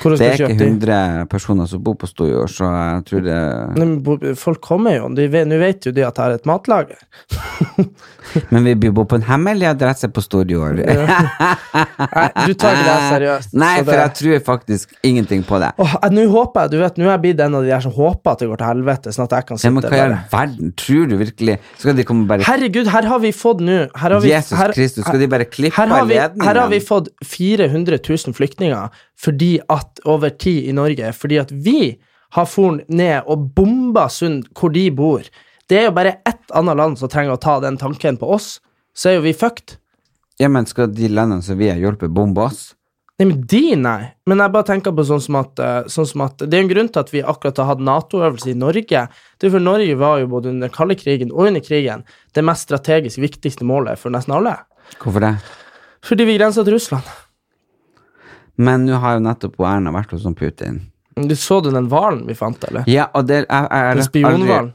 Hvor det hun skal er ikke kjøpe de? 100 personer som bor på Storjord, så jeg tror det Nei, men bo- Folk kommer jo. De vet- Nå vet jo de at jeg har et matlager. Men vi bor på en hemmelig adresse på Storjord. Nei, du tar ikke det seriøst. Nei, så for det- jeg tror faktisk ingenting på det. Åh, eh, Nå håper jeg, du vet, nå er jeg blitt en av de der som håper at det går til helvete, sånn at jeg kan Ja, sitte men hva i all bare verden? Tror du virkelig Skal de komme bare Herregud, her har vi fått nå her har vi, Jesus her, Kristus, skal de bare klippe her har, vi, her har vi ledningen? fått 400 000 flyktninger fordi at, over tid i Norge fordi at vi har foren ned og bomba Sund hvor de bor. Det er jo bare ett annet land som trenger å ta den tanken på oss, så er jo vi fucked. Ja, men skal de landene som vi har hjulpet, bombe oss? Nei, men de, nei. Men jeg bare tenker på sånn som at, eh, sånn som at Det er en grunn til at vi akkurat har hatt Nato-øvelse i Norge. Det er for Norge var jo både under den kalde krigen og under krigen det mest strategisk viktigste målet for nesten alle. Hvorfor det? Fordi vi grenser til Russland. Men nå har jo nettopp hun Erna vært hos hun Putin. Du Så du den hvalen vi fant, eller? Ja, og det er, er, Den er spionhvalen.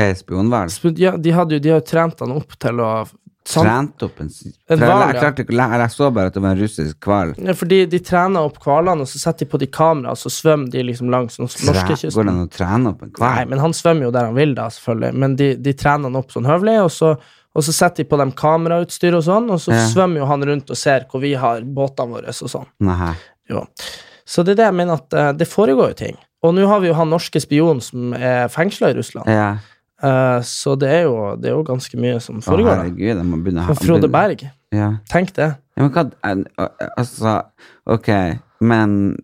Er spionhval? Sp- Ja, de hadde jo de har jo trent han opp til å sant? Trent opp en s- Sånn. En For jeg- hval, Jeg, ja. klarte ikke å lære- jeg så bare at det var en russisk hval. Ja, Fordi de trener opp hvalene, og så setter de på de kamera, og så svømmer de liksom langs den Tre- norske Går det kysten. an å trene opp en Nei, hval? men han svømmer jo der han vil, da, selvfølgelig. Men de, de trener han opp sånn høvelig, og så, og så setter de på dem kamerautstyr og sånn, og så Ja. svømmer jo han rundt og ser hvor vi har båtene våre og sånn. Nei. Jo. Så det er det jeg mener at eh, det foregår jo ting. Og nå har vi jo han norske spion som er fengsla i Russland, Ja. Eh, så det er, jo, det er jo ganske mye som Å, foregår. da. herregud, jeg må begynne å ha Og Frode begynne- Berg, Ja. tenk det. ja, men hva en- al- Altså, ok, men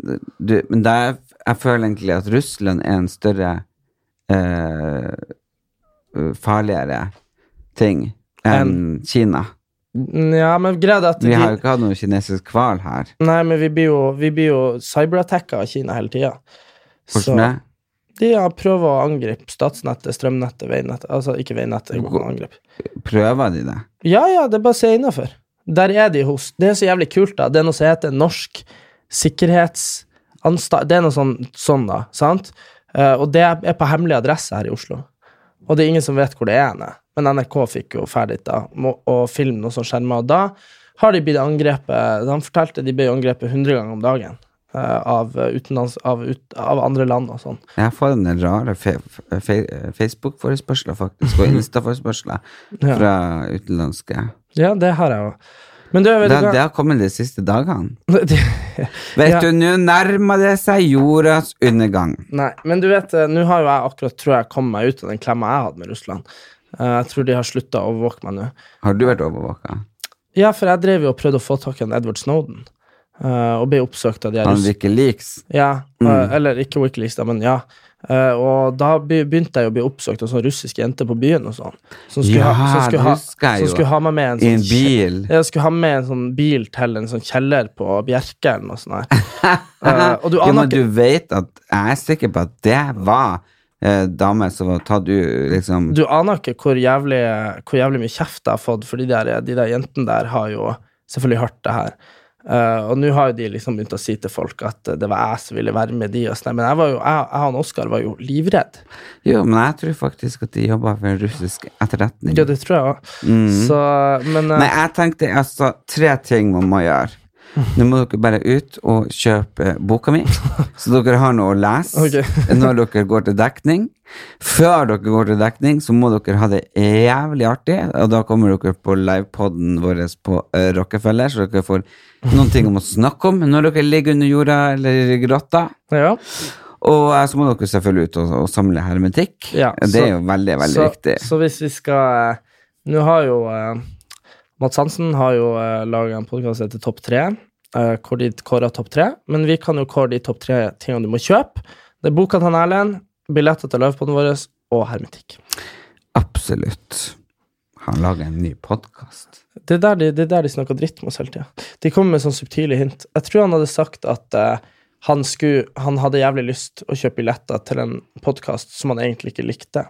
du Men da er, jeg føler egentlig at Russland er en større eh, farligere ting enn Kina. Ja, men greia er at Vi de, har jo ikke hatt noen kinesisk hval her. Nei, men vi blir jo, vi blir jo cyberattacka av Kina hele tida. Hvordan det? de har prøvd å angripe statsnettet, strømnettet, veinettet Altså ikke veinettet, det går ikke an å angripe. Prøver de det? Ja, ja, det er bare å se innafor. Der er de hos. Det er så jævlig kult, da. Det er noe som heter Norsk sikkerhetsanstalt Det er noe sånn, sånn da, sant? Eh, og det er på hemmelig adresse her i Oslo. Og det er ingen som vet hvor det er henne. Men NRK fikk jo ferdig da, må, å filme noe sånn skjerma, og da har de blitt angrepet Han fortalte de ble angrepet 100 ganger om dagen eh, av, eh, utenlands, av, ut, av andre land og sånn. Jeg får en del rare fe fe Facebook-forespørsler, faktisk, og Insta-forespørsler Ja. fra utenlandske. Ja, det har jeg jo. Men du, vet Det, du hva? det har kommet de siste dagene. Vet Ja. du, nå nærmer det seg jordas undergang. Nei, men du vet, eh, nå har jo jeg akkurat tror jeg kom meg ut av den klemma jeg hadde med Russland. Eh, Jeg tror de har slutta å overvåke meg nå. Har du vært overvåka? Ja, for jeg drev jo og prøvde å få tak i han Edward Snowden, eh, og ble oppsøkt av de her Han Mm. russ- Wikileaks? Ja, eh, eller ikke Wikileaks, da, men ja. Eh, og da be- begynte jeg å bli oppsøkt av sånne russiske jenter på byen og sånn. Som skulle, Ja, ha, som det skulle, ha, husker jeg som jo. skulle ha meg med en I sånn en bil? Jeg skulle ha med en sånn bil til en sånn kjeller på Bjerke eller noe sånt. her. Eh, og du Ja, aner men ikke du vet at Jeg er sikker på at det var eh, damer som var tatt ut, liksom Du aner ikke hvor jævlig, hvor jævlig mye kjeft jeg har fått, for de der, de der jentene der har jo selvfølgelig hørt det her. Eh, og nå har jo de liksom begynt å si til folk at eh, det var jeg som ville være med de. Og sånn. Men jeg, var jo, jeg, jeg og Oskar var jo livredd. Jo, men jeg tror faktisk at de jobba for en russisk etterretning. Ja, det tror jeg òg. Så, men eh, Nei, jeg tenkte altså tre ting man må gjøre. Nå må dere bare ut og kjøpe eh, boka mi, så dere har noe å lese Ok. når dere går til dekning. Før dere går til dekning, så må dere ha det jævlig artig, og da kommer dere på livepoden vår på eh, Rockefeller, så dere får noen ting om å snakke om når dere ligger under jorda eller i grotta. Ja. Og eh, så må dere selvfølgelig ut og, og samle hermetikk. Ja, det er så- jo veldig, veldig så, viktig. Så hvis vi skal eh, Nå har jo eh, Mats Hansen har jo eh, laga en podkast som heter Topp tre, eh, hvor de kårer topp tre. Men vi kan jo kåre de topp tre tingene du må kjøpe. Det er boka til Erlend, billetter til livepoden vår og hermetikk. Absolutt. Han lager en ny podkast. Det er der de, det er der de snakker dritt med oss hele tida. De kommer med sånn subtile hint. Jeg tror han hadde sagt at eh, han, skulle, han hadde jævlig lyst å kjøpe billetter til en podkast som han egentlig ikke likte.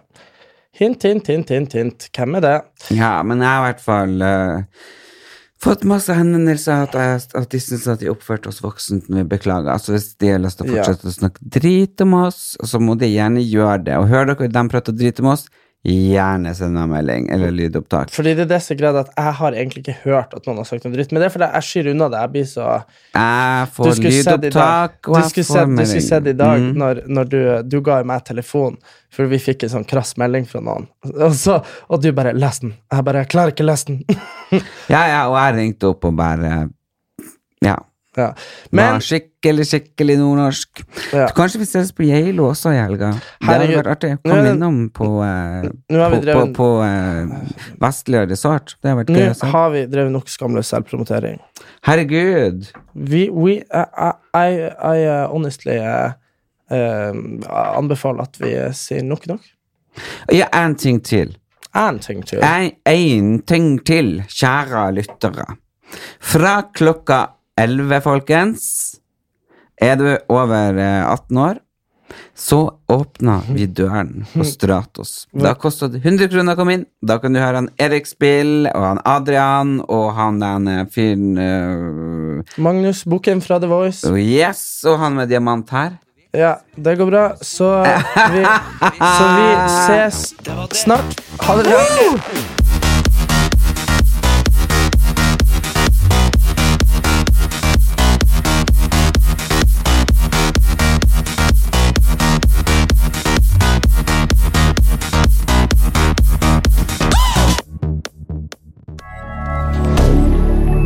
Hint, hint, hint, hint, hint. Hvem er det? Ja, men jeg har i hvert fall eh, fått masse henvendelser at, jeg, at de syns at de oppførte oss voksent når vi beklager. Altså Hvis de har lyst til å Ja. fortsette å snakke drit om oss, så må de gjerne gjøre det. Og hører dere dem prate drit om oss, gjerne send meg en melding eller Mm. lydopptak. Fordi det er det som er greia, at jeg har egentlig ikke hørt at noen har sagt noe dritt. Men det er fordi jeg skyr unna det. Jeg blir så Jeg Du får skulle sett i dag, lydopptak, du og jeg skulle sett, får du skulle sett i melding. dag Mm. når, når du, du ga jo meg telefon, for vi fikk en sånn krass melding fra noen, og, så, og du bare 'les den'. Jeg bare 'jeg klarer ikke å lese den'. Ja, ja, og jeg ringte opp og bare Ja. ja. Men, Men var skikkelig, skikkelig nordnorsk. Ja. Kanskje vi ses på Geilo også i helga. Det hadde Herregud. vært artig. Kom Nå- innom på, eh, nå har på, vi på, drevet- på eh, Vestløy resort. Det hadde vært gøy. nå å se. har vi drevet nok skamløs selvpromotering. Herregud! Vi, we, I, I, I uh, honestly uh, um, anbefaler at vi uh, sier nok nok. Ja, én ting til. Én ting til. Én ting til, kjære lyttere. Fra klokka 11, folkens, er du over eh, 18 år, så åpner vi døren Mhm. på Stratos. Da koster det 100 kroner å komme inn. Da kan du høre han Erik Spill, og han Adrian, og han den eh, fyren eh, Magnus Bukken fra The Voice. oh, Yes, og han med diamant her. Ja, det går bra. Så vi, så vi ses snart. Ha det bra.